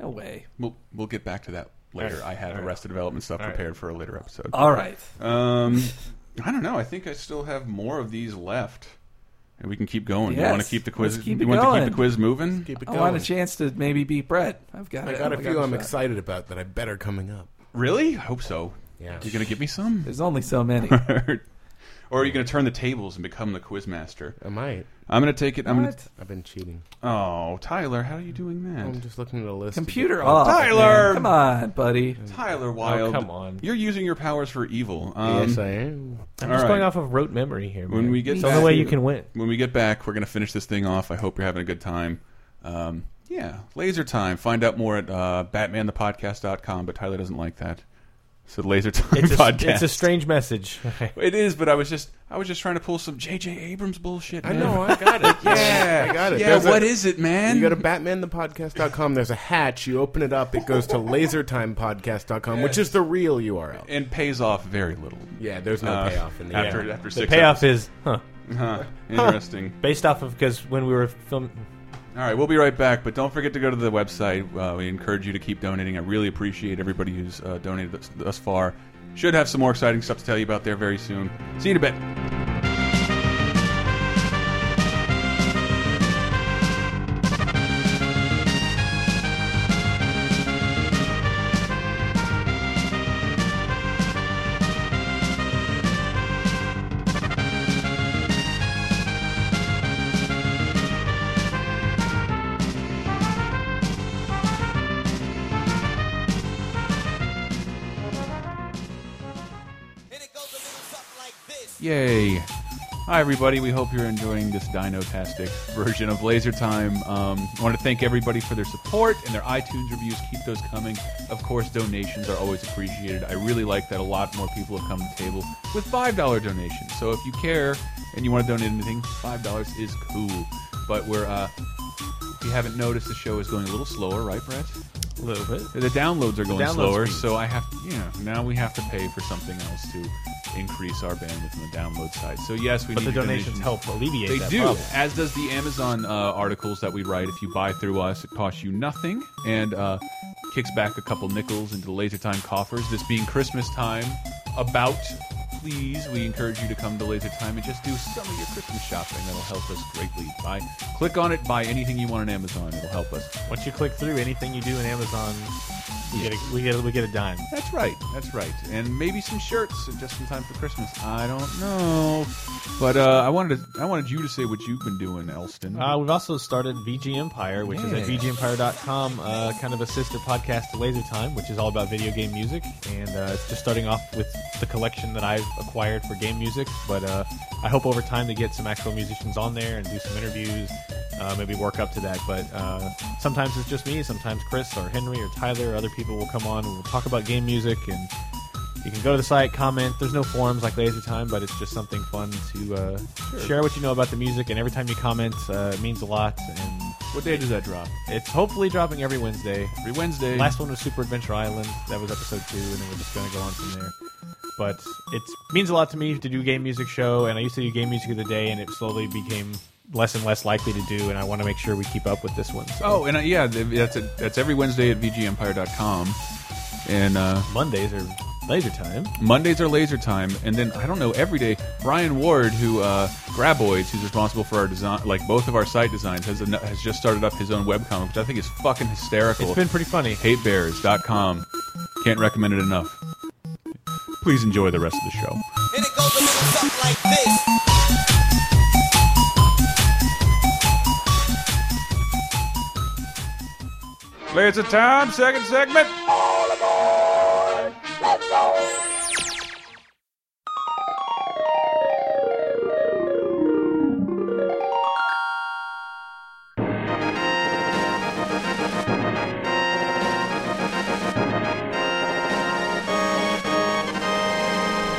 I: No way.
D: we'll we'll get back to that later. I have Arrested Development stuff prepared for a later episode.
I: All right.
D: Um, I don't know. I think I still have more of these left, and we can keep going. You
I: Yes,
D: want to keep the quiz?
I: let's keep
D: you
I: it
D: want to
I: going.
D: keep the quiz moving?
E: Keep it
I: I
E: going.
I: want a chance to maybe beat Brett. I've got
E: I
I: it.
E: got a
I: I
E: few I'm
I: shot.
E: excited about that I bet are coming up.
D: Really? I hope so.
E: Yeah.
D: You're gonna give me some,
I: There's only so many.
D: or are you gonna turn the tables and become the quiz master?
E: I might.
D: I'm gonna take it. I'm gonna.
I: What?
E: I've been cheating.
D: Oh, Tyler, how are you doing that?
E: I'm just looking at a list.
I: Computer
E: of-
F: Oh.
I: off.
D: Tyler!
I: man. Come on, buddy.
D: Tyler Wilde,
G: come on.
D: You're using your powers for evil. Um,
E: Oh, Yes, I am.
G: I'm
D: All
G: just going
D: right.
G: off of rote memory here.
D: When
G: man.
D: we get
G: it's
D: back
G: the only way
D: to-
G: you can win.
D: when we get back, we're gonna finish this thing off. I hope you're having a good time. Um, yeah, laser time. Find out more at uh, BatmanThePodcast.com. But Tyler doesn't like that, so laser time
G: It's a,
D: podcast.
G: it's a strange message. Okay.
D: It is, but I was just I was just trying to pull some J.J. Abrams bullshit.
E: I
D: man.
E: know. I got it.
D: Yeah,
E: I got it.
D: Yeah,
E: There's a-
D: what is it, man?
E: You go to batmanthepodcast.com. There's a hatch. You open it up. It goes to lasertimepodcast.com, which is the real URL.
D: and pays off very little.
E: Yeah, there's no
D: Uh,
E: payoff in the
D: after
E: end.
D: after
G: The
D: six.
G: payoff is, huh?
D: episodes. Huh, interesting.
G: Based off of because when we were film,
D: All right, we'll be right back, but don't forget to go to the website. Uh, we encourage you to keep donating. I really appreciate everybody who's uh, donated thus, thus far. Should have some more exciting stuff to tell you about there very soon. See you in a bit. Yay. Hi, everybody. We hope you're enjoying this dino-tastic version of Laser Time. Um, I want to thank everybody for their support and their iTunes reviews. Keep those coming. Of course, donations are always appreciated. I really like that a lot more people have come to the table with $5 donations. So if you care and you want to donate anything, $5 is cool. But we're, uh, if you haven't noticed, the show is going a little slower, right, Brett?
G: A little bit.
D: The downloads are going
G: download
D: slower,
G: speeds.
D: so I have to, you know, now we have to pay for something else to increase our bandwidth on the download side. So yes, we
G: But
D: need
G: the
D: your
G: donations help alleviate
D: They
G: that
D: do,
G: problem.
D: as does the Amazon uh, articles that we write. If you buy through us, it costs you nothing and uh, kicks back a couple nickels into the Laser Time coffers. This being Christmas time, about please, we encourage you to come to Laser Time and just do some of your Christmas shopping. That'll help us greatly. Buy, click on it, buy anything you want on Amazon. It'll help us.
G: Once you click through anything you do in Amazon, you get a, we get a, we get a dime.
D: That's right. That's right. And maybe some shirts just in time for Christmas. I don't know. But uh, I wanted to, I wanted you to say what you've been doing, Elston.
G: Uh, we've also started VG Empire, which
D: Yeah.
G: is at VGEmpire.com, uh, kind of a sister podcast to Laser Time, which is all about video game music. And uh, it's just starting off with the collection that I've acquired for game music. But uh, I hope over time to get some actual musicians on there and do some interviews, uh, maybe work up to that. But uh, sometimes it's just me, sometimes Chris or Henry or Tyler or other people will come on and we'll talk about game music. And you can go to the site, comment. There's no forums like Laser Time, but it's just something fun to uh, share what you know about the music. And every time you comment, uh, it means a lot. And
D: what day does that drop?
G: it's hopefully dropping every Wednesday.
D: Every Wednesday.
G: Last one was Super Adventure Island. That was episode two, and then we're just going to go on from there. But it means a lot to me to do game music show, and I used to do game music of the day, and it slowly became less and less likely to do. And I want to make sure we keep up with this one. So
D: oh, and uh, yeah, th- that's it that's every Wednesday at VGEmpire.com. And uh,
G: Mondays are laser time.
D: Mondays are laser time, and then I don't know every day. Brian Ward, who uh, Graboids, who's responsible for our design, like both of our site designs, has an, has just started up his own webcomic, which I think is fucking hysterical.
G: It's been pretty funny.
D: hatebears.com. Can't recommend it enough. Please enjoy the rest of the show.
J: And it goes a little something like this.
D: Laser time, second segment.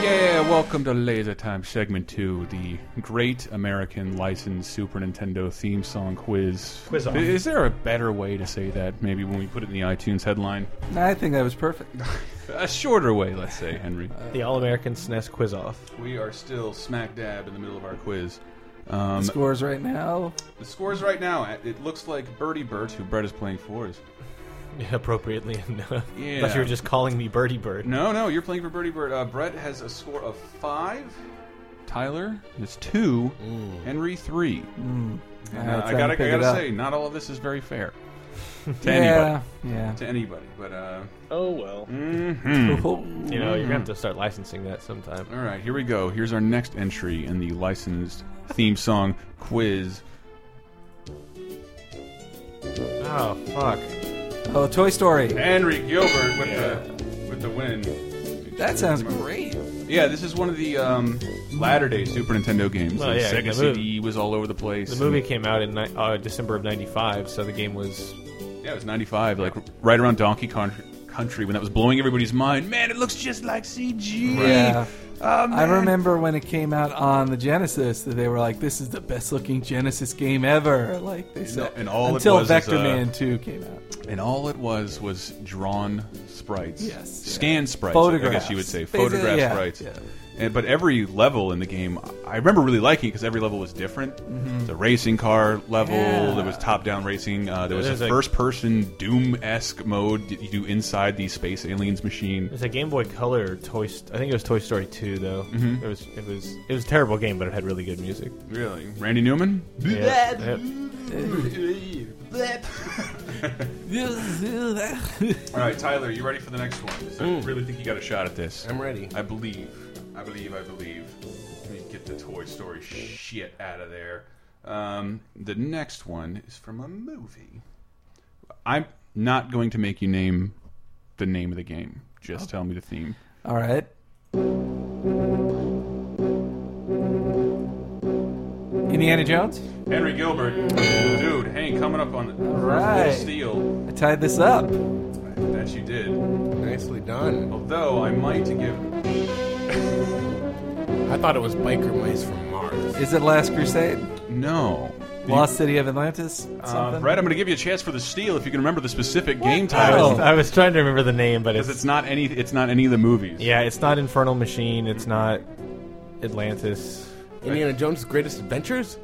D: Yeah, welcome to Laser Time Segment 2, the Great American Licensed Super Nintendo Theme Song Quiz.
G: Quiz on.
D: Is there a better way to say that, maybe when we put it in the iTunes headline?
F: I think that was perfect.
D: A shorter way, let's say, Henry.
G: The All American SNES E Quiz Off.
D: We are still smack dab in the middle of our quiz. Um,
F: Scores right now.
D: the scores right now, uh, it looks like Birdie Bert, who Brett is playing for, is.
G: Appropriately enough.
D: Yeah.
G: I thought you were just calling me Birdie Bird.
D: No, no, you're playing for Birdie Bird. Uh, Brett has a score of five. Tyler is two.
F: Mm.
D: Henry, three. And, uh,
F: Alright,
D: I
F: trying
D: gotta,
F: to
D: I
F: pick it
D: gotta
F: up.
D: say, not all of this is very fair. to
F: Yeah,
D: anybody.
F: yeah.
D: To anybody. But, uh.
G: Oh well.
F: Oh,
G: You know, you're gonna have to start licensing that sometime.
D: All right, here we go. Here's our next entry in the licensed theme song quiz.
G: Oh fuck.
F: Oh, Toy Story.
D: Henry Gilbert with the with the win.
F: That sounds great.
D: Yeah, this is one of the um, latter day Super Nintendo games.
G: Oh,
D: the
G: yeah,
D: Sega
G: the
D: CD
G: movie.
D: was all over the place.
G: The movie came out in ni- uh, December of '95, so the game was.
D: Yeah, it was '95, like right around Donkey Kong Country when that was blowing everybody's mind. Man, it looks just like CG.
F: Yeah.
D: Oh,
F: I
D: man.
F: remember when it came out on the Genesis that they were like, "This is the best looking Genesis game ever." Like they said,
D: and all it
F: until
D: was is,
F: Vector
D: uh,
F: Man Two came out.
D: And all it was was drawn sprites.
F: Yes.
D: Scan sprites. I guess
F: Photographs.
D: you would say.
F: Basically,
D: Photograph
F: yeah,
D: sprites.
F: yeah.
D: And, but every level in the game, I remember really liking because every level was different. The racing car level,
F: Mm-hmm. Yeah.
D: there was top down racing, uh, there was
G: There's
D: a
G: a-
D: first person Doom esque mode that you do inside the space aliens machine.
G: It's a Game Boy Color Toy. St- I think it was Toy Story 2, though. It was. It was. It was a terrible game, but it had really good music.
D: Really? Randy Newman?
G: Yeah. Yep.
D: All right, Tyler, you ready for the next one? 'Cause I really think you got a shot at this.
E: Mm. I'm ready.
D: I believe. I believe. I believe. Let me get the Toy Story shit out of there. Um, the next one is from a movie. I'm not going to make you name the name of the game. Just tell me the theme.
F: All right. Indiana Jones.
D: Henry Gilbert, dude, hey, coming up on the
F: Right.
D: steel.
F: I tied this up.
D: That you did.
E: Nicely done.
D: Although I might give.
E: I thought it was biker mice from Mars.
F: Is it Last Crusade?
D: No.
F: Lost City of Atlantis? Something?
D: Uh, Brett, I'm going to give you a chance for the steal if you can remember the specific game
G: I was,
F: Oh.
D: title.
G: Oh. I was trying to remember the name, but
D: Because
G: it's,
D: it's not any. It's not any of the movies.
G: yeah, it's not Infernal Machine. It's not Atlantis.
E: Indiana Jones' Greatest Adventures?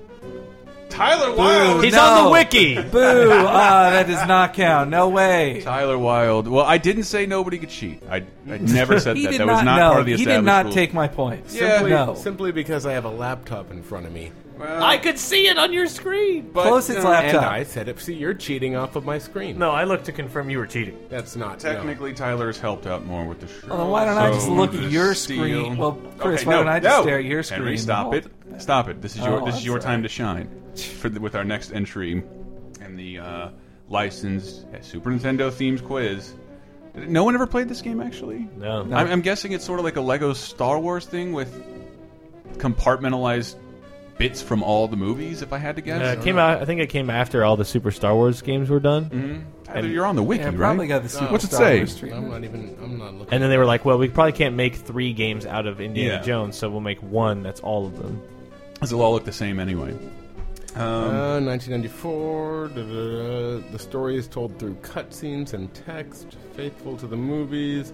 D: Tyler Wilde.
G: He's
F: no.
G: on the wiki.
F: Boo! Ah, that does not count. No way.
D: Tyler Wilde. Well, I didn't say nobody could cheat. I, I never said
F: He
D: that.
F: did
D: That was
F: not
D: not
F: know.
D: part of the
F: he did
D: established
F: not
D: rules.
F: take my point.
D: Yeah.
F: Simply no.
E: Simply because I have a laptop in front of me.
D: Well,
G: I could see it on your screen.
D: but
F: Close its
E: And
F: laptop.
E: I said, it. see, you're cheating off of my screen.
G: No, I looked to confirm you were cheating.
E: That's not. no.
D: Technically, Tyler's helped out more with the show.
F: Well, then why don't I just
D: So,
F: look at
D: the
F: your
D: steal-
F: screen? Well, Chris,
D: Okay,
F: why
D: no,
F: don't I just
D: no.
F: stare at your
D: Henry,
F: screen
D: stop
F: the
D: it! Stop it! This is your
F: Oh,
D: this is
F: I'm
D: your
F: sorry.
D: time to shine. For the, with our next entry, and the uh, licensed uh, Super Nintendo themes quiz. Did, no one ever played this game actually.
G: No.
D: I'm, I'm guessing it's sort of like a Lego Star Wars thing with compartmentalized bits from all the movies. If I had to guess,
G: Uh, it came out. I think it came after all the Super Star Wars games were done,
D: Tyler, you're on the wiki,
F: Yeah,
D: right?
F: probably got the
G: Oh.
F: Super
D: What's it
F: Star
D: say?
F: Wars treatment.
E: I'm not even. I'm not looking.
G: and then they were like, "Well, we probably can't make three games out of Indiana
D: Yeah.
G: Jones, so we'll make one that's all of them."
D: They'll all look the same anyway.
E: Uh, 1994. da, da, da. The story is told through cutscenes and text, faithful to the movies.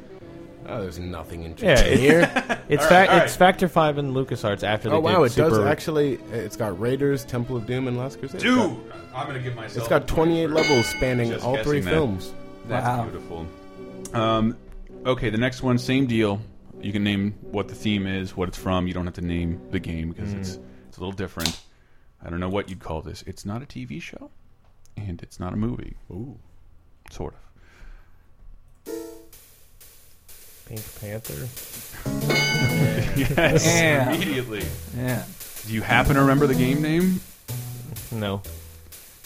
E: Oh, there's nothing
G: Yeah,
E: interesting here.
G: it's, it's, fa- it's Factor Five and LucasArts after they
E: oh wow,
G: did
E: it
G: Super.
E: does actually. It's got Raiders, Temple of Doom, and Last Crusade.
D: Dude, I'm gonna give myself.
E: it's got 28 levels spanning
D: Just
E: all three
D: guessing that.
E: films.
D: That's
F: Wow.
D: beautiful. Um, okay, the next one, same deal. You can name what the theme is, what it's from. You don't have to name the game because it's it's a little different. I don't know what you'd call this. It's not a TV show, and it's not a movie. Ooh, sort of.
G: Pink Panther.
D: Yes,
F: Yeah.
D: immediately.
F: Yeah.
D: Do you happen to remember the game name?
G: No,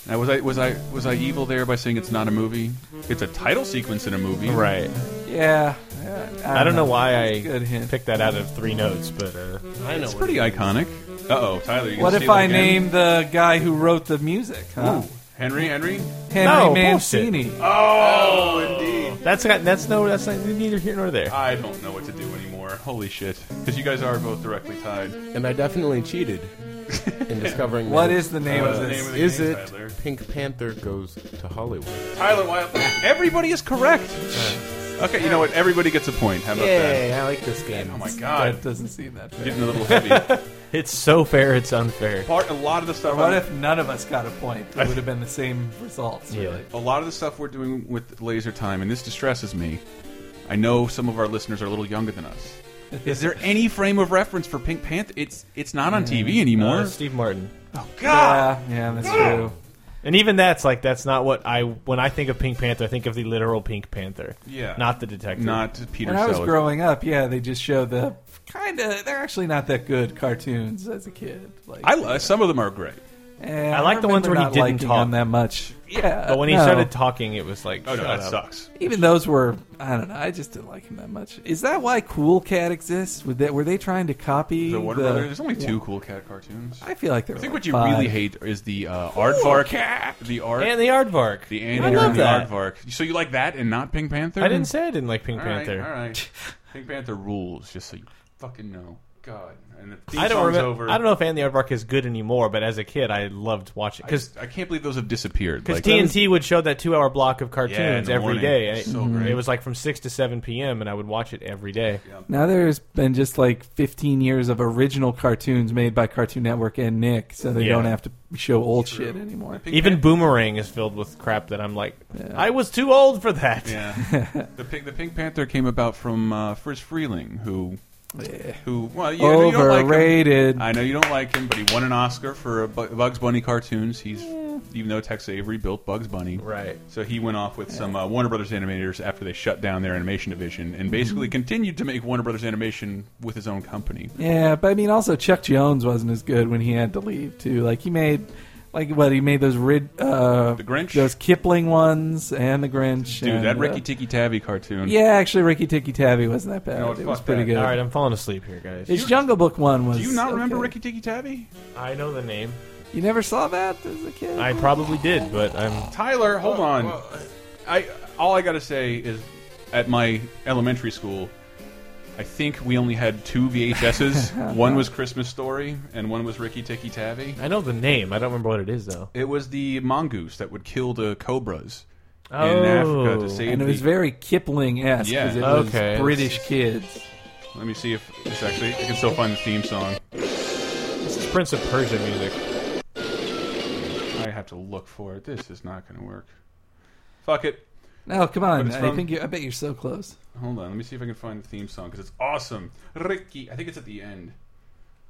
D: Now, was I was I was I evil there by saying it's not a movie? It's a title sequence in a movie,
G: right.
F: Yeah.
G: I don't know why I
F: That's a good hint.
G: picked that out of three notes, but uh,
E: I know.
D: It's pretty iconic. Uh oh, Tyler. You gonna
F: What if
D: steal it
F: I
D: again?
F: name the guy who wrote the music? Huh?
D: Ooh, Henry? Henry?
F: Henry
G: No,
F: Mancini.
D: Oh, indeed.
G: that's got, that's no that's not, neither here nor there.
D: I don't know what to do anymore. Holy shit. Because you guys are both directly tied.
E: And I definitely cheated in discovering
F: What
E: that. uh,
F: is the name
D: What is
F: of
D: the
F: this?
D: name of the
E: Is
D: game,
E: it
D: Tyler?
E: Pink Panther goes to Hollywood?
D: Tyler Wilde. Everybody is correct. Okay, you know what? Everybody gets a point. How about that?
E: I like this game.
D: Oh my god.
F: That doesn't seem that fair.
D: Getting a little heavy.
G: It's so fair, it's unfair.
D: Part a lot of the stuff.
F: What
D: I'm-
F: if none of us got a point? It would have been the same results. Really.
D: a lot of the stuff we're doing with Laser Time, and this distresses me. I know some of our listeners are a little younger than us. Is there any frame of reference for Pink Panther? It's it's not
F: Mm.
D: on TV anymore.
G: Uh, Steve Martin.
D: God.
F: Yeah, yeah, that's true.
G: And even that's like that's not what I when I think of Pink Panther, I think of the literal Pink Panther.
D: Yeah.
G: Not the detective.
D: Not Peter
F: When I was
D: Sellers.
F: growing up, yeah, they just showed the kind of they're actually not that good cartoons as a kid. Like
D: I li- some of them are great.
F: eh,
G: I like the ones
F: remember
G: where he
F: not
G: didn't
F: liking
G: talk.
F: them that much. Yeah,
G: But when he
F: no.
G: started talking it was like
D: Oh no,
G: shut
D: that
G: up.
D: sucks.
F: even those were I don't know. I just didn't like him that much. Is that why Cool Cat exists? Were they, were they trying to copy
D: The Warner
F: the-
D: Brothers. There's only two cool cat cartoons.
F: I feel like there.
D: I
F: were
D: think
F: like
D: what you
F: five.
D: really hate is the uh, aardvark, the art,
G: And the aardvark.
D: the
G: I
D: anteater,
G: love
D: and the
G: that.
D: aardvark. So you like that and not Pink Panther?
G: I didn't say I didn't like Pink
D: All right,
G: Panther.
D: all right. Pink Panther rules, just so you fucking know. God, and the theme
G: I don't
D: song's
G: remember.
D: over.
G: I don't know if and the aardvark is good anymore, but as a kid I loved watching because
D: I can't believe those have disappeared.
G: Because
D: Like,
G: TNT would show that two hour block of cartoons
D: Yeah, in the
G: every
D: morning.
G: day. And it,
D: So great.
G: it was like from 6 to 7 p.m., and I would watch it every day.
F: Now there's been just like 15 years of original cartoons made by Cartoon Network and Nick, so they
G: Yeah.
F: don't have to show old shit anymore.
D: Pink
G: Even
D: Pan-
G: Boomerang is filled with crap that I'm like, I was too old for that.
D: yeah, the Pink, the Pink Panther came about from uh, Fritz Freeling, who, who, well, you, you don't like him.
F: Overrated.
D: I know you don't like him, but he won an Oscar for uh, Bu- Bugs Bunny cartoons. He's even though Tex Avery built Bugs Bunny,
G: Right.
D: So he went off with some uh, Warner Brothers animators after they shut down their animation division, and basically continued to make Warner Brothers animation with his own company.
F: Mm-hmm. Yeah, but I mean, also Chuck Jones wasn't as good when he had to leave too. Like he made, like what he made those Rid, uh,
D: The Grinch?
F: those Kipling ones, and the Grinch.
D: Dude,
F: and,
D: that Ricky
F: Uh,
D: Tikki Tavi cartoon.
F: yeah, actually, Ricky Tikki Tavi wasn't that bad.
D: No,
F: it
D: fuck
F: was pretty
D: that.
F: good.
G: All right, I'm falling asleep here, guys.
F: His Jungle Book one was.
D: Do you not remember
F: okay.
D: Ricky Tikki Tavi?
G: I know the name.
F: You never saw that as a kid?
G: I probably did, but I'm.
D: Tyler, hold on.
E: well,
D: I all I gotta say is, at my elementary school, I think we only had two VHSs. one was Christmas Story, and one was Ricky Tikki Tavi.
G: I know the name. I don't remember what it is though.
D: It was the mongoose that would kill the cobras in
G: Oh.
D: Africa to save.
F: and it was
D: the-
F: very Kipling esque
D: Yeah.
F: it was
G: Okay.
F: British kids.
D: Let me see if it's actually. I can still find the theme song.
G: This is Prince of Persia music.
D: I have to look for it. This is not gonna work. Fuck it.
F: No, come
D: But
F: on.
D: it's
F: I
D: from-
F: think you, I bet you're so close.
D: Hold on. Let me see if I can find the theme song because it's awesome. Ricky. I think it's at the end.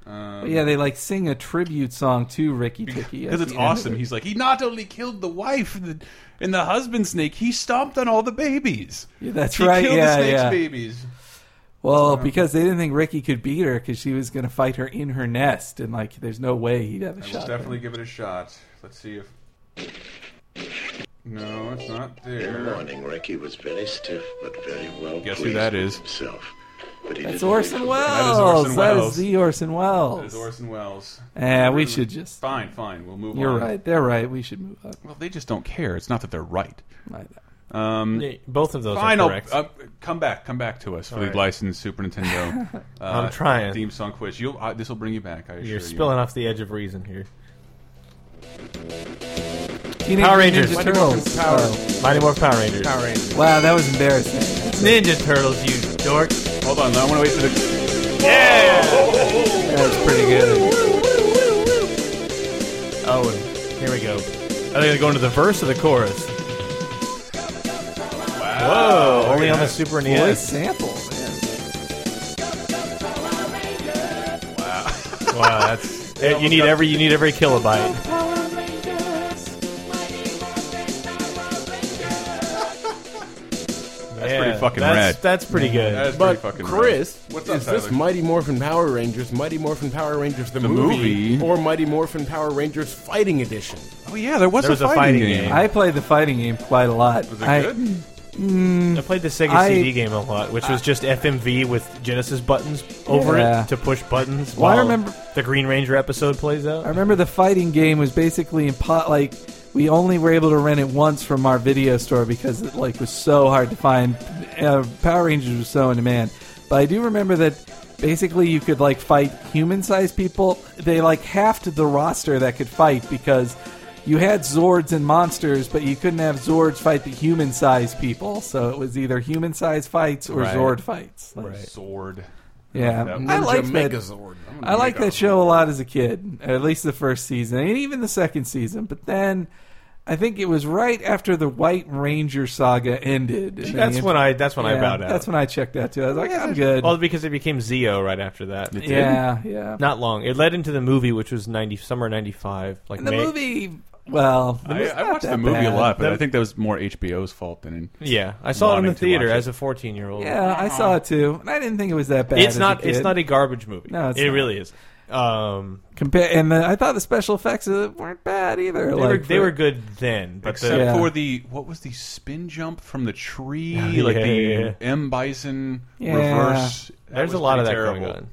D: Um,
F: But yeah, they like sing a tribute song to Ricky Ticky at
D: Because it's
F: the end of
D: awesome.
F: it.
D: He's like, he not only killed the wife and the, and the husband snake, he stomped on all the babies.
F: Yeah, that's
D: he
F: right.
D: killed
F: yeah,
D: the snake's
F: yeah.
D: babies.
F: Well, because they didn't think Ricky could beat her because she was going to fight her in her nest, and like, there's no way he'd have a
D: I will
F: shot.
D: definitely give it a shot. Let's see if. No, it's not there.
K: morning, Ricky was very stiff, but very well
D: Guess who
K: pleased
D: that
K: with
D: is.
K: himself. But he
F: That's
K: didn't
F: Orson
K: leave
F: Welles.
D: Orson
F: That is
D: Welles.
F: the Orson Wells.
D: It's Orson Welles.
F: Eh, we should just.
D: Fine, fine. We'll move
F: You're
D: on.
F: right. They're right. We should move on.
D: Well, they just don't care. It's not that they're right.
F: Right.
D: Um,
G: Yeah, Mm, eh, Both of those
D: fine,
G: are
D: I'll,
G: correct.
D: uh, come back. Come back to us for
G: All
D: the
G: right.
D: licensed Super Nintendo. uh,
G: I'm trying.
D: Theme song quiz. You'll, uh, this will bring you back. I assure
G: You're
D: you.
G: spilling off the edge of reason here.
F: Teenage
G: Power
F: Mutant
G: Rangers.
F: Ninja
G: Mighty
F: Turtles. Oh.
G: Mighty Morphin Power Rangers.
F: Wow, that was embarrassing.
G: Ninja Turtles, you dork.
D: Hold on. I want to wait for the.
F: That was pretty good.
G: Oh, and here we go. Are they going to go into the verse or the chorus? Whoa! Only on the Super E
F: Boy,
G: NES.
F: sample. man.
G: wow, that's you need every you need every kilobyte.
D: That's pretty fucking
G: that's,
D: rad.
G: That's pretty good.
D: That is
E: But
D: pretty fucking
E: Chris,
D: rad. What's up,
E: is this
D: Tyler?
E: Mighty Morphin Power Rangers, Mighty Morphin Power Rangers the,
D: movie?
E: or Mighty Morphin Power Rangers Fighting Edition?
D: Oh yeah, there was,
G: There was
D: a, fighting, game.
F: I played the fighting game quite a lot.
D: Was it
F: I,
D: good?
G: I played the Sega
F: I-
G: CD game a lot, which was just FMV with Genesis buttons over
F: Yeah.
G: it to push buttons.
F: Well, I
G: while
F: remember-
G: the Green Ranger episode plays out.
F: I remember the fighting game was basically in pot. Like we only were able to rent it once from our video store because it like was so hard to find. Uh, Power Rangers was so in demand, but I do remember that basically you could like fight human-sized people. They like halved the roster that could fight because you had Zords and monsters, but you couldn't have Zords fight the human-sized people. So it was either human-sized fights or
D: Right.
F: Zord fights. Like,
D: Sword.
F: Yeah,
D: That
F: I
E: Ninja
F: like that.
E: Megazord.
F: I like that show a lot as a kid, at least the first season, and even the second season. But then, I think it was right after the White Ranger saga ended. and
G: that's
F: they-
G: when I that's when I
F: yeah,
G: bowed out.
F: That's when I checked out too. I was like, I'm good.
G: well, because it became Zeo right after that.
F: yeah, yeah.
G: Not long. It led into the movie, which was ninety summer ninety five. Like
F: and the
G: May-
F: movie, well, it
D: I,
F: was
D: I
F: not
D: watched
F: that
D: the movie
F: bad.
D: a lot, but
G: That-
D: I think that was more HBO's fault than.
G: Yeah, I saw it in
D: Wanting
G: the
D: to
G: theater
D: watch it.
G: as a fourteen year old.
F: Yeah, I saw it too, and I didn't think it was that bad.
G: it's
F: as
G: not.
F: A
G: It's
F: kid.
G: not a garbage movie.
F: No, it's
G: it
F: not.
G: really is. Um,
F: compare. And the, I thought the special effects of it weren't bad either.
G: they
F: like,
G: were they
F: for-
G: were good then, but the,
D: Except
F: Yeah.
D: for the what was the spin jump from the tree,
G: Yeah,
D: like
G: yeah, yeah.
D: the M Bison
F: Yeah.
D: reverse. That
G: there's a
D: was
G: lot of that
D: pretty terrible.
G: going on.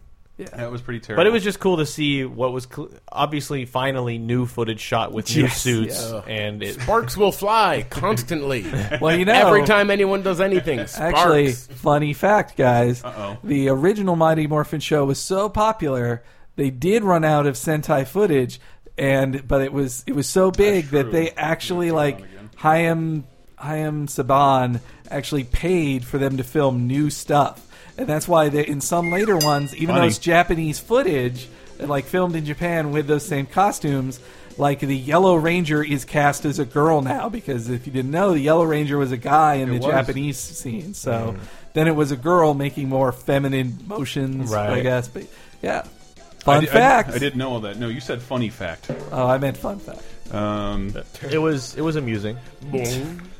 D: That was pretty terrible.
G: But it was just cool to see what was cl- obviously finally new footage shot with new
F: Yes,
G: suits,
E: yeah.
G: and it,
E: Sparks will fly constantly.
F: Well, you know,
E: Every time anyone does anything, sparks.
F: Actually, funny fact, guys.
D: Uh-oh.
F: The original Mighty Morphin show was so popular, they did run out of Sentai footage, and but it was it was so big that they actually like Hayam Hayam Saban actually paid for them to film new stuff, and that's why they, in some later ones, even though
D: Funny.
F: it's Japanese footage, like filmed in Japan with those same costumes. Like the Yellow Ranger is cast as a girl now because if you didn't know, the Yellow Ranger was a guy in the
D: was.
F: Japanese scene. So then it was a girl making more feminine motions, I
G: Right.
F: guess. But yeah,
D: I
F: fun
D: di- I-
F: fact.
D: I, didn't know all that. No, you said funny fact.
F: Oh, I meant fun fact.
D: Um,
G: it was it was amusing.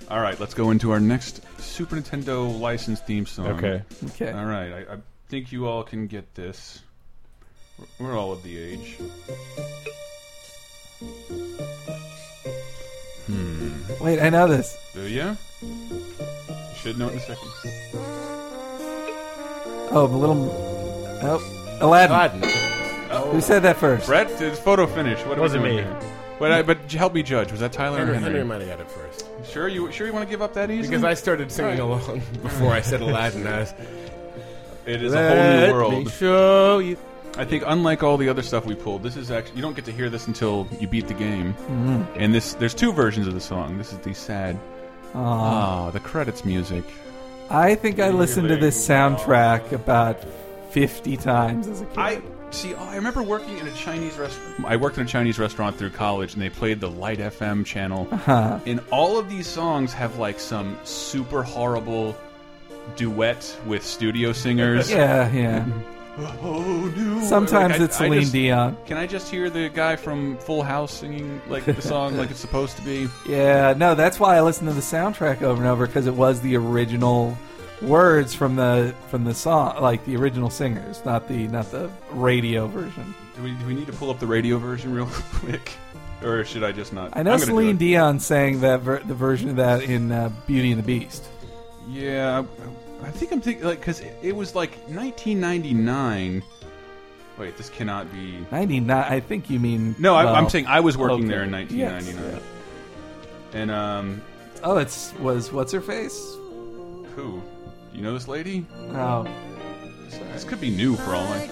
D: all right, let's go into our next Super Nintendo licensed theme song.
G: Okay.
F: Okay.
D: All right, I, I think you all can get this. We're- We're all of the age.
F: Wait, I know this.
D: Do you? You should know it in a second.
F: Oh, I'm a little. Oh, Aladdin.
E: Aladdin.
D: Uh-oh.
F: Who said that first?
D: Oh. Brett, it's photo finish. What
G: Wasn't
D: me.
G: me.
D: But, I, but help me judge. Was that Tyler
E: Henry,
D: or Henry?
E: Henry might have got it first.
D: Sure, you sure you want to give up that easy?
E: Because I started singing along before I said Aladdin. I was,
D: it is a whole new world.
E: show you.
D: I think unlike all the other stuff we pulled, this is actually you don't get to hear this until you beat the game.
F: Mm-hmm.
D: And this there's two versions of the song. This is the sad. Oh, the credits music.
F: I think I listened to this soundtrack about 50 times as a kid.
D: I see. oh, I remember working in a Chinese restaurant. I worked in a Chinese restaurant through college, and they played the Light FM channel.
F: Uh-huh.
D: And all of these songs have like some super horrible duet with studio singers.
F: yeah, yeah.
D: Oh, no.
F: Sometimes
D: Like, I-
F: it's
D: I
F: Celine
D: just-
F: Dion.
D: Can I just hear the guy from Full House singing like the song like it's supposed to be?
F: Yeah, no, that's why I listened to the soundtrack over and over because it was the original words from the from the song, like the original singers, not the not the radio version.
D: Do we, do we need to pull up the radio version real quick, or should I just not?
F: I know
D: I'm gonna do
F: Celine
D: it.
F: Dion sang that ver- the version of that in uh, Beauty and the Beast.
D: Yeah, I- I think I'm thinking like because it, it was like 1999. Wait, this cannot be.
F: Ninety nine. I think you mean
D: No, I, I'm
F: well,
D: saying I was working
F: okay.
D: there in
F: Yes.
D: 1999. And um,
F: Oh, it's was what's her face?
D: who? Do you know this lady?
F: Oh,
D: This could be new for all I.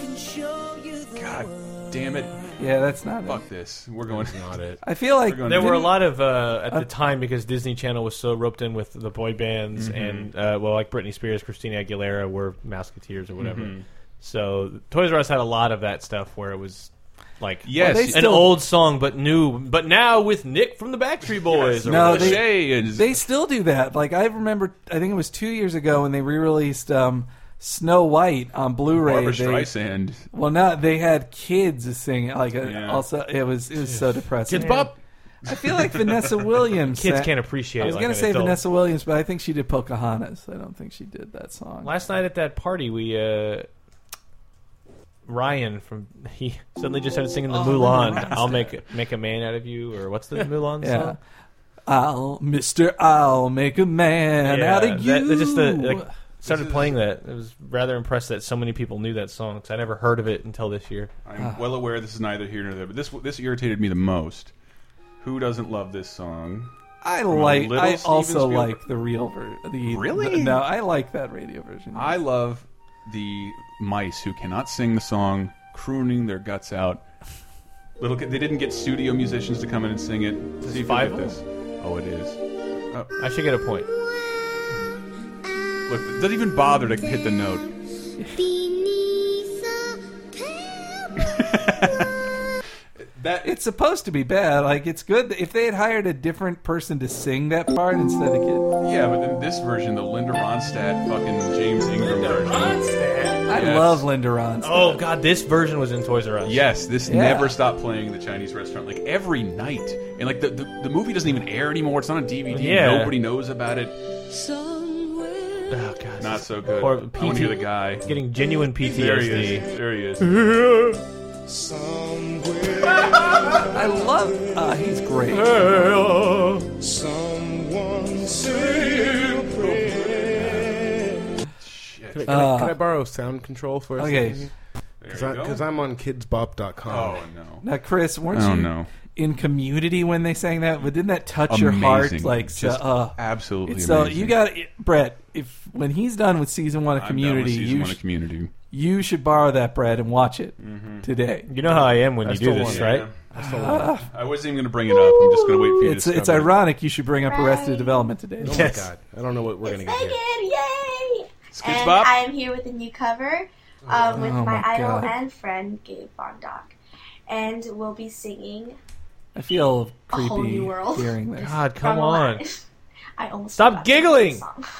D: God damn it!
F: yeah, that's not it.
D: Fuck this. We're going.
E: Not it.
F: I feel like
D: We're going
G: There were a
D: Didn't-
G: lot of uh, at the time because Disney Channel was so roped in with the boy bands
F: Mm-hmm.
G: and uh, well, like Britney Spears, Christina Aguilera were Musketeers or whatever.
F: Mm-hmm.
G: So Toys R Us had a lot of that stuff where it was like
D: Yes,
F: Well, they
D: you-
G: an
F: still-
G: old song but new, but now with Nick from the Backstreet Boys. or
F: No,
G: whatever.
F: they-
D: Shay is-
F: They still do that. Like I remember, I think it was two years ago when they re-released um, Snow White on Blu-ray.
D: Barbara
F: They-
D: Streisand.
F: well, no, they had kids singing. Like uh,
D: Yeah.
F: also, it was it was so depressing.
G: Kids Bop.
F: I feel like Vanessa Williams.
G: Kids
F: sang-
G: can't appreciate.
F: I was
G: it like
F: gonna
G: an
F: say
G: adult.
F: Vanessa Williams, but I think she did Pocahontas. I don't think she did that song.
G: Last night at that party, we uh, Ryan from he suddenly just started singing the Mulan. I'll make make a man out of you, or what's the Mulan
F: yeah.
G: song?
F: I'll, Mister, I'll make a man out of you.
G: That, that just the, like, started playing that. I was rather impressed that so many people knew that song because I never heard of it until this year.
F: Ah.
D: I'm well aware this is neither here nor there, but this this irritated me the most. Who doesn't love this song?
F: I like.
D: Little
F: I
D: Steven
F: also
D: Spielberg.
F: like the real version. The
D: Really?
F: No, I like that radio version.
D: I love the mice who cannot sing the song, crooning their guts out. Little, kid- they didn't get studio musicians to come in and sing it. See if you
G: five
D: get
G: of
D: this. Oh, it is.
G: I should get a point.
D: Look, it doesn't even bother to hit the note. That
F: It's supposed to be bad. Like it's good if they had hired a different person to sing that part instead of kid.
D: yeah, but then this version, the Linda Ronstadt fucking James Ingram version.
F: I
D: Yes.
F: love Linda Ronstadt.
G: Oh God, this version was in Toys R Us.
D: Yes, this
F: Yeah.
D: never stopped playing in the Chinese restaurant, like every night. And like the, the the movie doesn't even air anymore. It's not on DVD.
G: Yeah.
D: Nobody knows about it.
G: Oh God,
D: Not so good.
G: Or
D: I want to hear the guy.
G: getting genuine
D: There he
G: PTSD.
D: is. There he is.
F: I love. Uh, he's great.
E: Can I, can I- can I borrow sound control for a
F: Okay.
E: second?
D: There you
E: Because
D: go.
E: I'm on kidsbop.com.
D: Oh no.
F: Now, Chris, weren't
D: Oh
F: you
D: no.
F: in Community when they sang that? But didn't that touch your heart?
D: Amazing.
F: Like so,
D: Just
F: uh,
D: absolutely
F: it's so
D: amazing.
F: you got Brett. If when he's done with season one of
D: I'm done with
F: Community,
D: season
F: you
D: one of
F: sh-
D: community.
F: you should borrow that Brett and watch it
G: Mm-hmm.
F: today.
G: You know how I am when you do
E: the
G: this,
E: one.
G: right?
D: I wasn't even going to bring it up. I'm just going to wait for you
F: It's
D: to
F: it's
D: discover it.
F: ironic you should bring up Arrested Development today.
E: Oh
G: Yes.
E: my god. I don't know what we're going to get here.
I: Megan, yay!
D: Scoots
I: And
D: Bop?
I: I am here with a new cover um, with
F: Oh
I: my,
F: my
I: idol
F: God.
I: and friend Gabe Bondoc. And we'll be singing
F: I feel
I: A
F: creepy
I: whole new world.
F: hearing this.
G: God, come
I: from
G: on.
I: Aladdin. I almost
G: Stop
I: forgot to sing the
G: giggling!
I: song.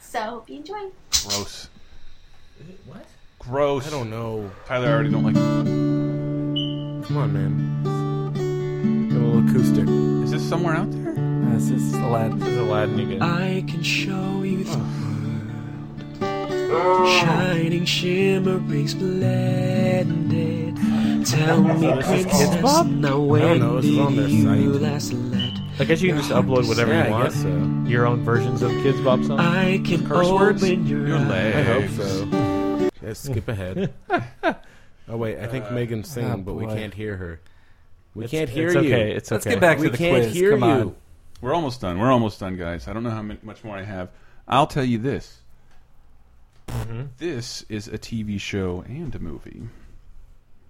I: So hope you enjoy.
D: Gross. What? Gross.
E: I don't know.
D: Tyler, I already don't like.
E: Come on, man. Get a little acoustic.
D: Is this somewhere out there?
F: This is Aladdin.
G: This is Aladdin again.
J: I can show you the world. Shining, shimmering, splendid. Tell me, princess, now
E: don't know,
J: when
E: this is on their
J: did you
E: site.
J: last let
G: I guess you can just upload whatever
E: Yeah,
G: you
E: I
G: want.
E: guess so.
G: Your own versions of Kids Bop songs.
J: I can
D: Curse words?
J: open your
D: Your
J: eyes.
E: I hope
D: legs.
E: so. Let's skip ahead. Oh wait, I think
G: Uh,
E: Megan's singing,
G: oh,
E: but we
G: boy.
E: can't hear her. We
G: It's-
E: can't hear
G: it's
E: you.
G: okay, it's
E: Let's
G: okay.
E: get back
G: We
E: to the
G: can't
E: quiz.
G: hear
E: Come
G: you.
E: on.
D: We're almost done. We're almost done, guys. I don't know how many, much more I have. I'll tell you this. This is a TV show and a movie.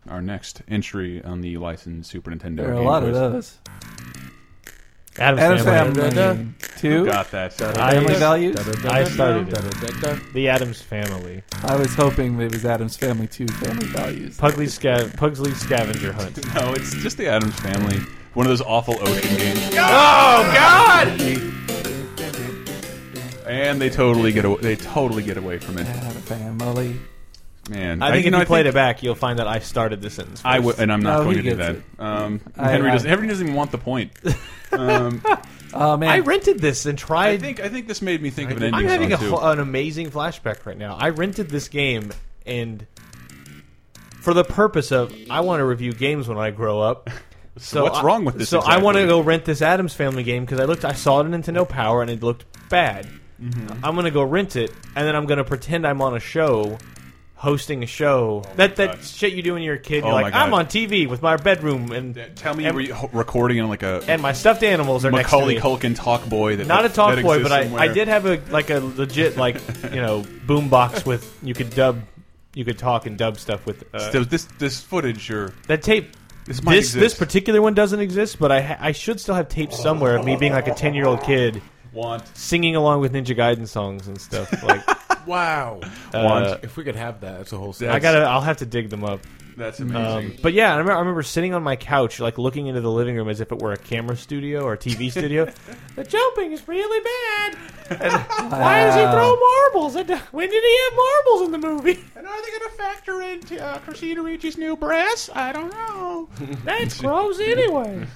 D: Our next entry on the licensed Super Nintendo.
F: There are a
D: game
F: lot of
D: quiz.
F: those.
G: Adam's
F: Adam's
G: Family.
F: Family. Two.
G: Oh,
D: Who got that?
G: I-
F: Family values?
G: I started it. The Adams Family.
F: I was hoping that it was Adam's Family Two, Family Values.
G: Pugly sca- Pugsley Scavenger Hunt.
D: No, it's just the Adams Family. One of those awful ocean games.
G: Oh God!
D: And they totally get away. They totally get away from it.
F: Family.
D: Man,
G: I think
D: you
G: if
D: know,
G: you
D: I
G: play
D: think
G: it back, you'll find that I started the sentence. First.
D: I would, and I'm not
F: No,
G: Oh,
D: going
F: he
D: to do that.
F: gets
D: Um,
F: I-
D: Henry
F: I-
G: uh,
D: doesn't. Henry doesn't even want the point. Um,
F: Oh
G: I
F: man,
G: rented this and
D: I
G: tried.
D: think. I think this made me think of an
G: I'm
D: ending
G: having a,
D: song too.
G: ho- uh, an amazing flashback right now. I rented this game and for the purpose of I want to review games when I grow up. So
D: what's
G: I-
D: wrong with this
G: So I want to
D: exactly?
G: go rent this Adams Family game because I looked, I saw it in Nintendo Power and it looked bad.
D: Mm-hmm.
G: I'm gonna go rent it and then I'm gonna pretend I'm on a show, hosting a show. that that
D: Oh God.
G: shit you do when you're a kid.
D: Oh
G: you're
D: my
G: like,
D: God.
G: I'm on TV with my bedroom and
D: Yeah, Tell me,
G: and,
D: were you ho- recording on like a
G: and my stuffed animals are
D: Macaulay
G: next to me.
D: Culkin talk boy? That
G: Not a
D: that
G: talk boy,
D: exists
G: but I, I
D: somewhere?
G: did have a like a legit like you know boom box with you could dub you could talk and dub stuff with uh,
D: So this this footage, or
G: that tape.
D: This might
G: this, this
D: exist.
G: particular one doesn't exist, but I ha- I should still have tapes somewhere of me being like a ten year old kid
D: want
G: singing along with Ninja Gaiden songs and stuff. Like
E: Wow.
D: want
E: if we could have that, that's a whole.
G: Uh, I
E: That's,
G: gotta I'll have to dig them up.
D: that's amazing.
G: Um, but yeah, I remember, I remember sitting on my couch, like looking into the living room as if it were a camera studio or a TV studio. the jumping is really bad. Ah. And why does he throw marbles? And when did he have marbles in the movie? And are they going to factor in uh, Christina Ricci's new breasts? I don't know. That's gross anyway.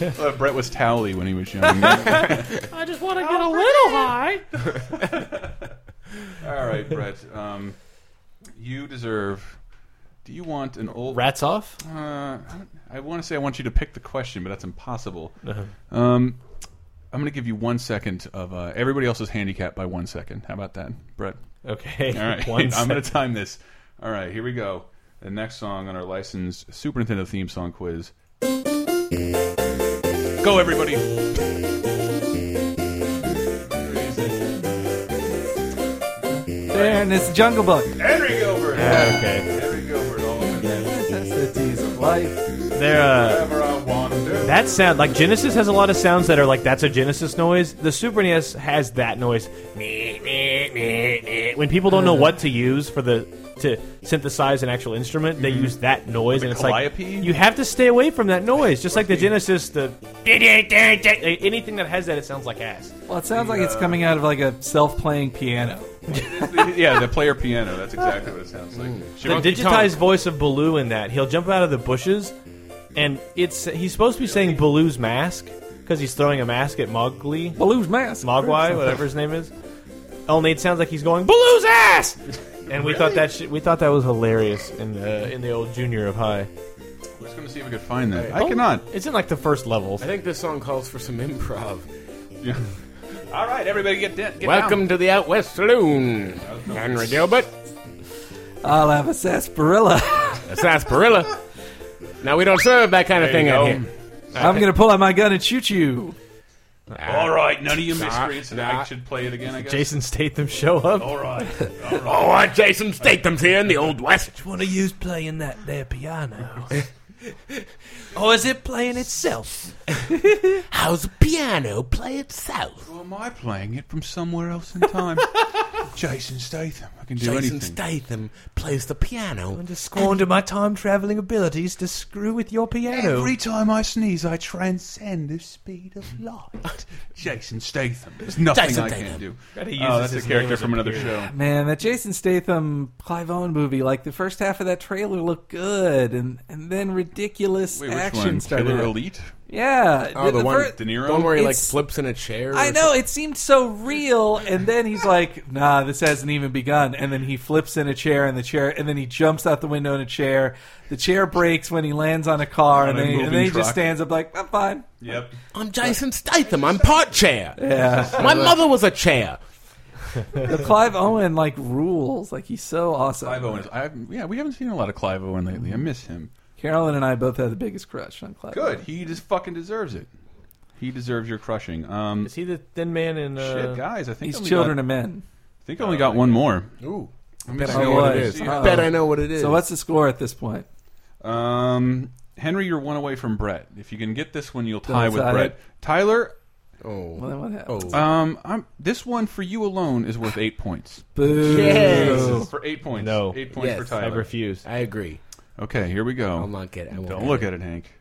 D: Uh, Brett was Towley when he was young. All
G: I just want to get a little high.
D: right, Brett. Um, you deserve. Do you want an old
G: Rats off.
D: Uh, I want to say I want you to pick the question, but that's impossible.
G: Uh-huh.
D: Um, I'm going to give you one second of uh, everybody else's handicap by one second. How about that, Brett?
G: Okay.
D: All right,
G: One
D: I'm
G: sec.
D: going to time this. All right, here we go. The next song on our licensed Super Nintendo theme song quiz. Go, everybody!
F: there and it's Jungle Book.
D: Henry Gilbert.
G: okay.
D: Henry Gilbert. All of it.
F: Necessities of life.
G: They're. Uh,
D: Whatever I want to do.
G: That sound like Genesis has a lot of sounds that are like that's a Genesis noise. The Super NES has that noise. Meh, meh, meh, meh. When people don't know what to use for the to synthesize an actual instrument, they use that noise, and it's like
D: calliope?
G: you have to stay away from that noise. Just like the Genesis, the anything that has that, it sounds like ass.
F: Well, it sounds like it's coming out of like a self-playing piano.
D: yeah, the player piano. That's exactly what it sounds like.
G: The digitized voice of Baloo in that he'll jump out of the bushes, and it's he's supposed to be saying Baloo's mask because he's throwing a mask at Mowgli.
F: Baloo's mask.
G: Mogwai, whatever his name is. Only it sounds like he's going Baloo's ass, and we thought that shit we thought that was hilarious in the in the old junior of high.
D: I'm just going to see if I could find that. I cannot.
G: It's in like the first level.
E: I think this song calls for some improv.
D: All right, everybody get, da- get
E: Welcome to the Out West Saloon, Henry Gilbert.
F: I'll have a sarsaparilla.
E: A sarsaparilla. now we don't serve that kind of thing out here.
F: I'm gonna pull out my gun and shoot you.
D: All right, none of you miscreants. and I should play it again, I guess.
G: Jason Statham show up.
D: All right.
H: Oh, uh, Jason Statham's here in the Old West.
J: One of you's playing that there piano. or is it playing itself?
H: How's a piano play itself?
D: Or am I playing it from somewhere else in time? Jason Statham. I can do
H: Jason
D: anything.
H: Statham plays the piano.
J: To squander my time traveling abilities to screw with your piano.
D: Every time I sneeze, I transcend the speed of light. Jason Statham. There's nothing
H: Jason
D: I
H: Statham.
D: can't do.
G: he
D: Oh,
G: uses
D: that's a
G: his
D: character
G: name as
D: from
G: a
D: another
G: peer.
D: show.
F: Man, that Jason Statham Clive Owen movie, like the first half of that trailer looked good, and and then ridiculous
D: Wait, which
F: action
D: one?
F: started.
D: Killer
F: up.
D: Elite?
F: Yeah.
E: Oh, the, one,
F: fir-
D: De Niro?
E: Don't worry, like
F: It's-
E: flips in a chair. or
F: I know it seemed so real, and then he's like, "Nah, this hasn't even begun." And then he flips in a chair, and the chair, and then he jumps out the window in a chair. The chair breaks when he lands on a car, and
D: a
F: then, and
D: moving
F: then he
D: truck.
F: just stands up like, "I'm fine."
D: Yep.
E: I'm Jason Statham. I'm part chair.
F: Yeah,
E: My mother was a chair.
F: the Clive Owen like rules. Like he's so awesome.
D: Clive Owen is- I haven't- yeah, we haven't seen a lot of Clive Owen lately. I miss him.
F: Carolyn and I both had the biggest crush on Clive.
D: Good. He just fucking deserves it. He deserves your crushing. Um,
G: Is he the thin man in? Uh,
D: shit, guys. I think
F: He's
D: only
F: children
D: got-
F: of men.
D: I think I only got one more.
E: Ooh.
D: Let me
F: Bet I
D: see
F: know
D: what
F: what
D: it
F: it
D: is.
F: is. Uh-oh. Bet I know what it is. So what's the score at this point?
D: Um, Henry, you're one away from Brett. If you can get this one, you'll
F: Don't
D: tie with
F: tie
D: Brett.
F: it.
D: Tyler.
E: Oh.
F: Well, then what happens?
D: Um, I'm, this one for you alone is worth eight points.
F: Boo.
E: Yes.
D: For eight points.
G: No.
D: Eight points
E: Yes.
D: for Tyler.
G: I refuse.
E: I agree.
D: Okay, here we go.
E: I'll not get it. I won't
D: Don't
E: get
D: look
E: it.
D: at it, Hank.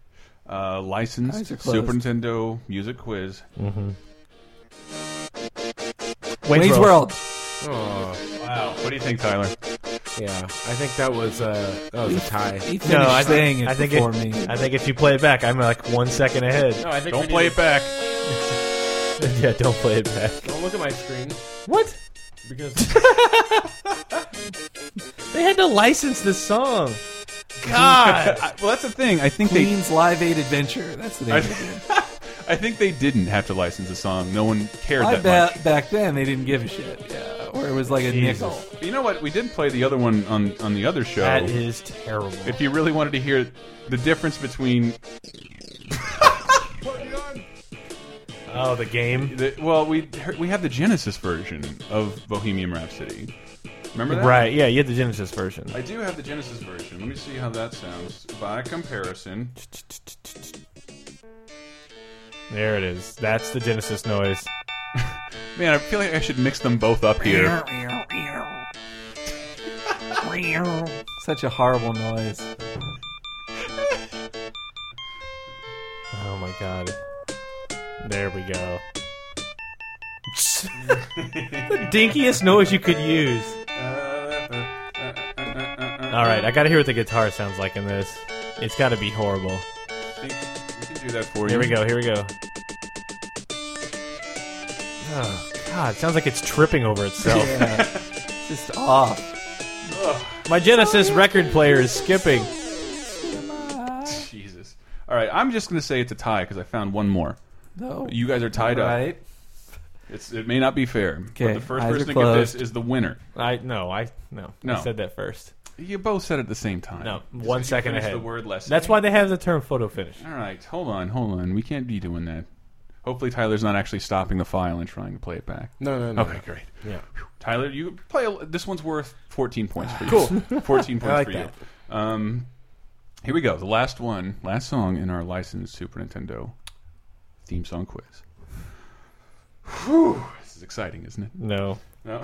D: Uh,
F: Eyes are
D: licensed
F: closed.
D: Super Nintendo music quiz.
F: Wayne's,
G: Wayne's
F: World.
E: Oh,
D: Wow. What do you think, Tyler?
E: yeah. I think that was, uh, that was a tie.
F: He finished
G: No, I
F: saying
G: think,
F: it
G: I think
F: before
G: if,
F: me.
G: I think if you play it back, I'm like one second ahead.
E: No, I think
D: Don't play it back.
G: yeah, don't play it back.
E: Don't look at my screen
G: What?
E: because
G: They had to license this song.
D: God. well, that's the thing. I think they.
F: Queen's Live Aid Adventure. That's the name. of it.
D: I think they didn't have to license a song. No one cared
F: I
D: that
F: bet
D: much.
F: back then they didn't give a shit. Yeah, or it was like a nickel.
D: But You know what? We did play the other one on on the other show.
G: That is terrible.
D: if you really wanted to hear the difference between
G: Oh, the game.
D: the well, we heard- we have the Genesis version of Bohemian Rhapsody. Remember that?
G: Right? Yeah, you had the Genesis version.
D: I do have the Genesis version. Let me see how that sounds by comparison.
G: There it is. That's the Genesis noise.
D: Man, I feel like I should mix them both up here.
F: Such a horrible noise.
G: Oh my god. There we go. the dinkiest noise you could use. All right, I gotta hear what the guitar sounds like in this. It's gotta be horrible.
D: We can do that for
G: Here
D: you.
G: we go. Here we go. Oh, God, it sounds like it's tripping over itself.
F: Yeah. It's just off.
G: My Genesis record player is skipping.
D: Jesus. All right, I'm just going to say it's a tie because I found one more.
F: No.
D: You guys are tied up.
F: right.
D: It's, it may not be fair, but
F: Okay,
D: the first
F: eyes are
D: person to get this
F: closed.
D: is the winner.
G: I no, I no.
D: No.
G: I said that first.
D: You both said it at the same time.
G: No,
D: Just
G: one
D: 'cause you
G: second
D: finished
G: ahead.
D: The word lesson.
G: That's why they have the term photo finish.
D: All right, hold on, hold on. We can't be doing that. Hopefully, Tyler's not actually stopping the file and trying to play it back.
E: no, no, no.
D: Okay, great.
E: Yeah.
D: Tyler, you play. A, this one's worth 14 points for you. Cool. 14 points
E: I like
D: for
E: that.
D: you. Um, here we go. The last one, last song in our licensed Super Nintendo theme song quiz. Whew, this is exciting, isn't it?
G: No.
D: No.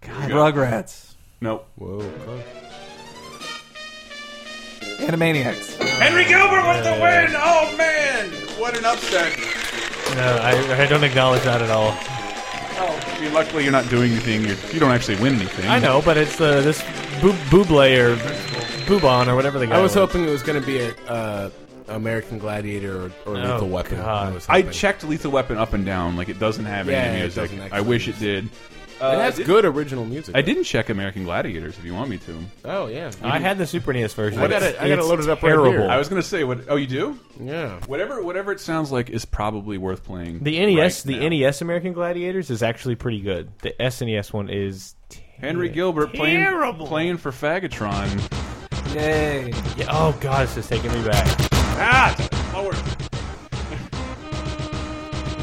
F: God, Rugrats.
D: no.
E: Whoa. close.
F: Animaniacs.
D: Henry Gilbert with the win! Oh, man! What an upset.
G: No, I, I don't acknowledge that at all.
D: Oh. I mean, luckily, you're not doing anything. You're, you don't actually win anything.
G: I know, but it's uh, this Boo- Buble or Boobon or whatever the guy
E: I was hoping it was going to be a uh, American Gladiator or, or
G: Oh,
E: Lethal Weapon.
G: God.
E: was
D: I
E: hoping.
D: checked Lethal Weapon up and down. Like, it doesn't have
E: Yeah,
D: any
E: it
D: music.
E: doesn't actually
D: I wish it
E: have
D: did.
E: It
D: Uh, I
E: has
D: did-
E: good original music.
D: I Uh,
E: though.
D: didn't check American Gladiators if you want me to.
E: Oh yeah.
G: I had the Super NES version.
E: I gotta- I gotta
G: It's
E: load it up right
G: terrible.
E: here.
D: I was going to say, what? oh, you do?
E: yeah.
D: Whatever whatever it sounds like is probably worth playing.
G: The NES,
D: right
G: the E
D: now.
G: NES American Gladiators is actually pretty good. The SNES one is.
D: Henry Gilbert playing,
G: Terrible.
D: playing for Fagatron.
F: Yay.
G: Yeah, oh God, it's just taking me back.
D: Ah! Lower.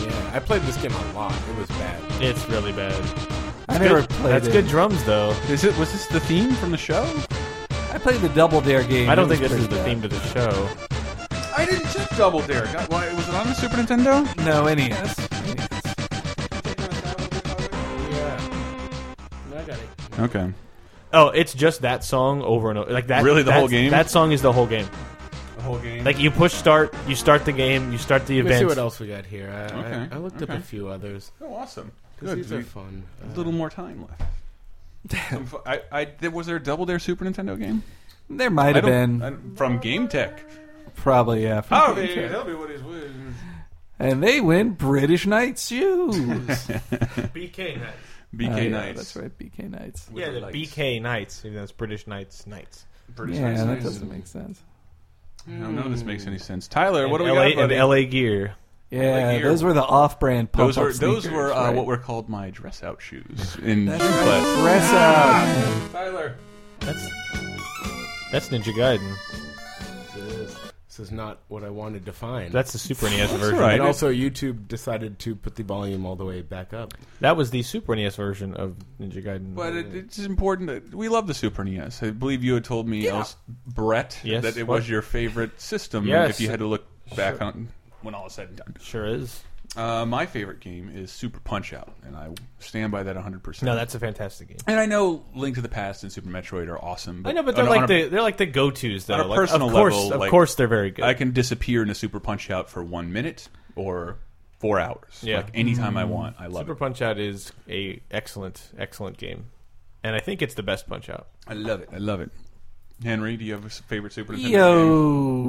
E: Yeah. I played this game a lot. It was bad.
G: It's really bad.
F: I never played
G: That's
F: it.
G: good drums though.
D: Is it? Was this the theme from the show?
F: I played the Double Dare game.
G: I
F: It
G: don't think
F: was
G: this is
F: pretty bad.
G: the theme to the show.
D: I didn't check Double Dare. God, why, was it on the Super Nintendo?
F: No, NES. NES.
D: Okay.
G: Oh, it's just that song over and over. Like that.
D: Really, the
G: that's-
D: whole game?
G: That song is the whole game.
D: The whole game.
G: Like you push start, you start the game, you start the
E: Let me
G: event.
E: see what else we got here. I, I-
D: Okay,
E: I, looked up
D: okay.
E: a few others.
D: oh, awesome.
E: 'Cause These are
D: we-
E: fun.
D: A little more time left. Some fu- I, I, there, was there a Double Dare Super Nintendo game?
F: There might have been.
D: I don't- Oh, from Game Tech.
F: Probably, yeah. from Game Tech. Uh,
D: me what he's with.
F: And they win British Knight shoes.
G: BK Knights.
D: BK
F: Oh, yeah,
D: Knights.
F: That's right, BK Knights.
G: Yeah, the
D: Knights.
G: BK Knights. Even though it's British Knights Knights.
D: British
F: yeah,
D: Knights.
F: that
D: Knights.
F: doesn't make sense.
D: I don't know if this makes any sense. Tyler, what do
G: And
D: we
G: LA,
D: got, buddy?
G: and LA gear.
F: Yeah,
D: Like here-
F: those were the off-brand pump
D: Those were
F: up
D: those
F: sneakers,
D: were uh,
F: right?
D: what were called my dress out shoes in
F: That's
D: gym
F: right,
D: class.
F: dress out.
G: Tyler. That's that's Ninja Gaiden.
E: Uh, This, this is not what I wanted to find.
G: That's the Super NES version.
E: And also, YouTube decided to put the volume all the way back up.
G: That was the Super NES version of Ninja Gaiden.
D: But it, it's important that we love the Super NES. I believe you had told me, else, Brett,
G: Yes,
D: that it
G: what?
D: was your favorite system.
G: Yes.
D: If you had to look back
G: Sure.
D: on when all is said and done,
G: sure is.
D: Uh, my favorite game is Super Punch Out, and I stand by that 100. percent
G: No, that's a fantastic game.
D: And I know Link to the Past and Super Metroid are awesome. But
G: I know, but
D: on
G: they're
D: a-
G: like
D: on a-
G: the they're like the go tos though.
D: on a
G: Like,
D: personal
G: of course,
D: level,
G: of
D: like,
G: course, they're very good.
D: I can disappear in a Super Punch Out for one minute or four hours.
G: Yeah.
D: Like anytime I want, I love
G: Super
D: it.
G: Punch Out is a excellent, excellent game, and I think it's the best Punch Out.
D: I love it. I love it. Henry, do you have a s- favorite Super Nintendo game?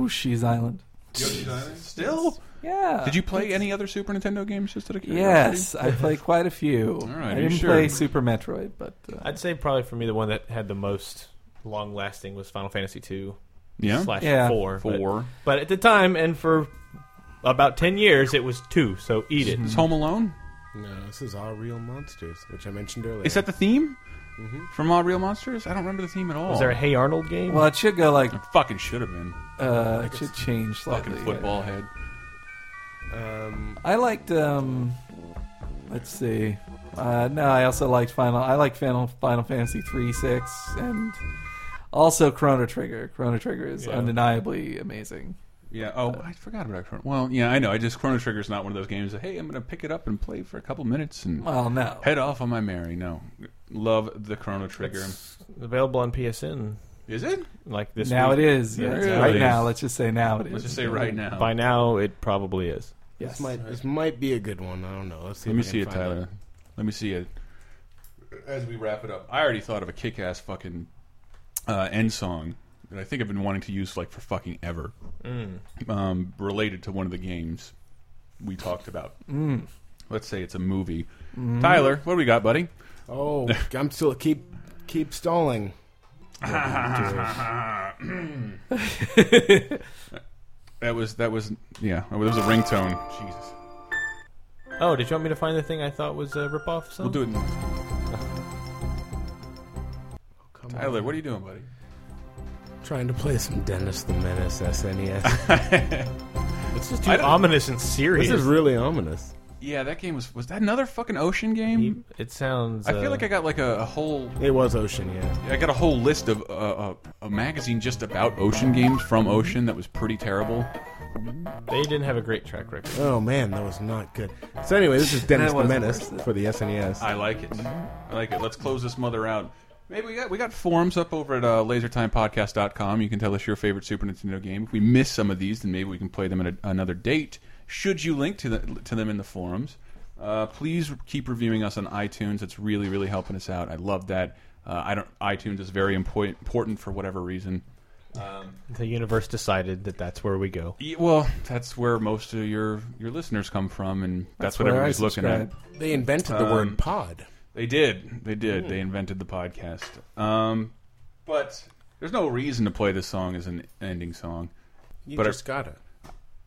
F: Yo, she's Island.
D: Still?
F: Yeah.
D: Did you play any other Super Nintendo games just out of curiosity?
F: Uh, Yes, I play quite a few.
D: All right,
F: I
D: are you
F: didn't
D: sure?
F: play Super Metroid, but uh,
G: I'd say probably for me the one that had the most long lasting was Final Fantasy two,
D: Yeah?
G: slash
F: Yeah.
G: four, but-
D: Four.
G: But, at the time and for about ten years it was two. So eat it.
D: Is Home Alone?
E: No, this is Our Real Monsters, which I mentioned earlier.
D: Is that the theme
F: Mm-hmm.
D: from All Real Monsters? I don't remember the theme at all.
G: Was there a Hey Arnold game?
F: well, it should go like
D: It fucking should have been.
F: uh, it should change slightly.
D: Fucking football head.
E: Um,
F: I liked. um Let's see. Uh, no, I also liked Final. I like Final Final Fantasy three six and also Chrono Trigger. Chrono Trigger is
G: Yeah.
F: undeniably amazing.
D: Yeah. Oh, I forgot about Chrono. Well, yeah, I know. I just Chrono Trigger's not one of those games that hey, I'm going to pick it up and play for a couple minutes and
F: Well, no,
D: head off on my merry. No, love the Chrono Trigger.
G: It's available on PSN.
D: Is it?
G: Like this
F: now
G: week.
F: it is. Yeah,
D: Really?
F: Right now, let's just say now it is.
D: Let's just say right now.
G: By now, it probably is.
F: Yes.
E: This might, this might be a good one. I don't know. Let's see.
D: Let me
E: if I
D: see
E: can
D: it,
E: find
D: Tyler. Let me see it. As we wrap it up, I already thought of a kick-ass fucking uh, end song that I think I've been wanting to use like for fucking ever. Um, related to one of the games we talked about. Let's say it's a movie. Tyler, what do we got, buddy?
E: Oh, I'm still keep keep stalling.
D: That was that was yeah. That was a ringtone. Jesus.
G: Oh, did you want me to find the thing I thought was a ripoff? Song?
D: We'll do it. next time.
E: Come on.
D: Tyler, what are you doing, buddy?
E: Trying to play some Dennis the Menace E SNES.
G: This is too
D: I don't-
G: ominous and serious.
E: this is really ominous.
D: Yeah, that game was was that another fucking ocean game?
G: It sounds. uh,
D: I feel like I got like a, a whole
E: It was Ocean, yeah.
D: I got a whole list of uh, uh, a magazine just about ocean games from Ocean that was pretty terrible.
G: they didn't have a great track record.
E: Oh man, that was not good. So anyway, this is Dennis
F: That
E: the
F: was
E: Menace
F: worse.
E: for the E SNES.
D: I like it. I like it. Let's close this mother out. Maybe we got we got forums up over at uh, lasertimepodcast.com. You can tell us your favorite Super Nintendo game. If we miss some of these, then maybe we can play them at a, another date. Should you link to the, to them in the forums, uh, please keep reviewing us on iTunes. It's really really helping us out. I love that. Uh, I don't. iTunes is very impo- important for whatever reason.
G: The universe decided that that's where we go.
D: Yeah, well, that's where most of your your listeners come from, and that's, what
F: where I
D: everybody's looking at.
F: subscribe.
E: They invented
D: Um,
E: the word pod.
D: They did. They did. They invented the podcast. Um, but there's no reason to play this song as an ending song.
E: You
D: but
E: just gotta.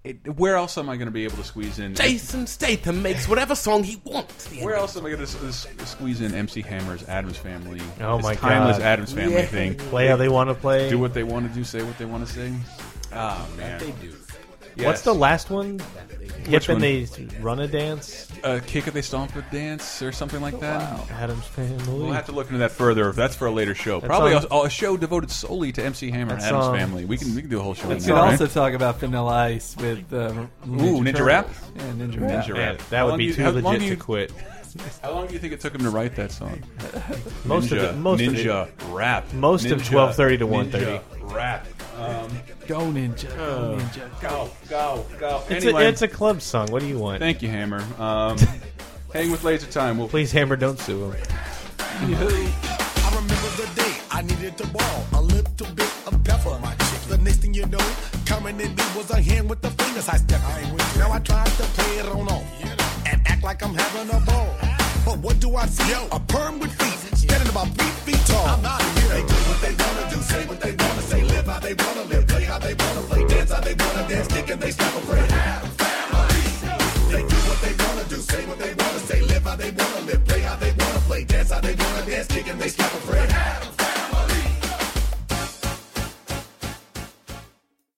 D: It, where else am I going to be able to squeeze in?
E: Jason Statham makes whatever song he wants. The
D: Where else am I going to s- s- squeeze in MC Hammer's Adams Family?
G: Oh
D: this
G: my
D: timeless
G: God.
D: Adams Family
E: Yeah.
D: thing.
G: Play how they want to play.
D: Do what they want to do. Say what they want to say. Ah man. They do.
G: What's the last one? Hip
D: one?
G: and they run a dance.
D: uh, kick it? They stomp with dance or something like that.
G: Adam's family.
D: We'll have to look into that further. That's for a later show.
G: That
D: Probably
G: song-
D: a, a show devoted solely to MC Hammer and
G: That
D: Adam's
G: song-
D: family. We can we can do a whole show.
F: We
D: on
F: could
D: that,
F: also
D: right?
F: talk about Vanilla Ice with uh,
D: Ooh, Ninja Rap?
F: Turtles. Yeah, Ninja Rap.
D: Ninja
G: Man,
D: Rap.
G: that
D: How
G: would
D: long do
G: be
D: you-
G: too
D: how long
G: legit
D: do you-
G: to quit.
D: How long do you think it took him to write that song?
G: Most
D: ninja,
G: of it. Most of
D: ninja
G: it.
D: rap.
G: most of
D: Ninja-
G: 12:30 to Uh,
D: ninja
G: 1:30.
D: Rap. Um,
F: Go Ninja.
D: Uh,
F: Go Ninja.
D: go go go.
G: It's,
D: anyway,
G: a, it's a club song. What do you want?
D: thank you, Hammer. Um, hang with Laser Time. We'll
G: Please, Hammer, don't sue him.
L: I remember the day I needed to ball a little bit of pepper. My chick, the next thing you know, coming in me was a hand with the fingers I stepped. I now I tried to play it on off and act like I'm having a ball. But what do I see? A perm with feet, standing about three feet tall. I'm out of here. They do what they wanna do, say what they wanna say, live how they wanna live, play how they wanna play, dance how they wanna dance, kick and they snap a bread.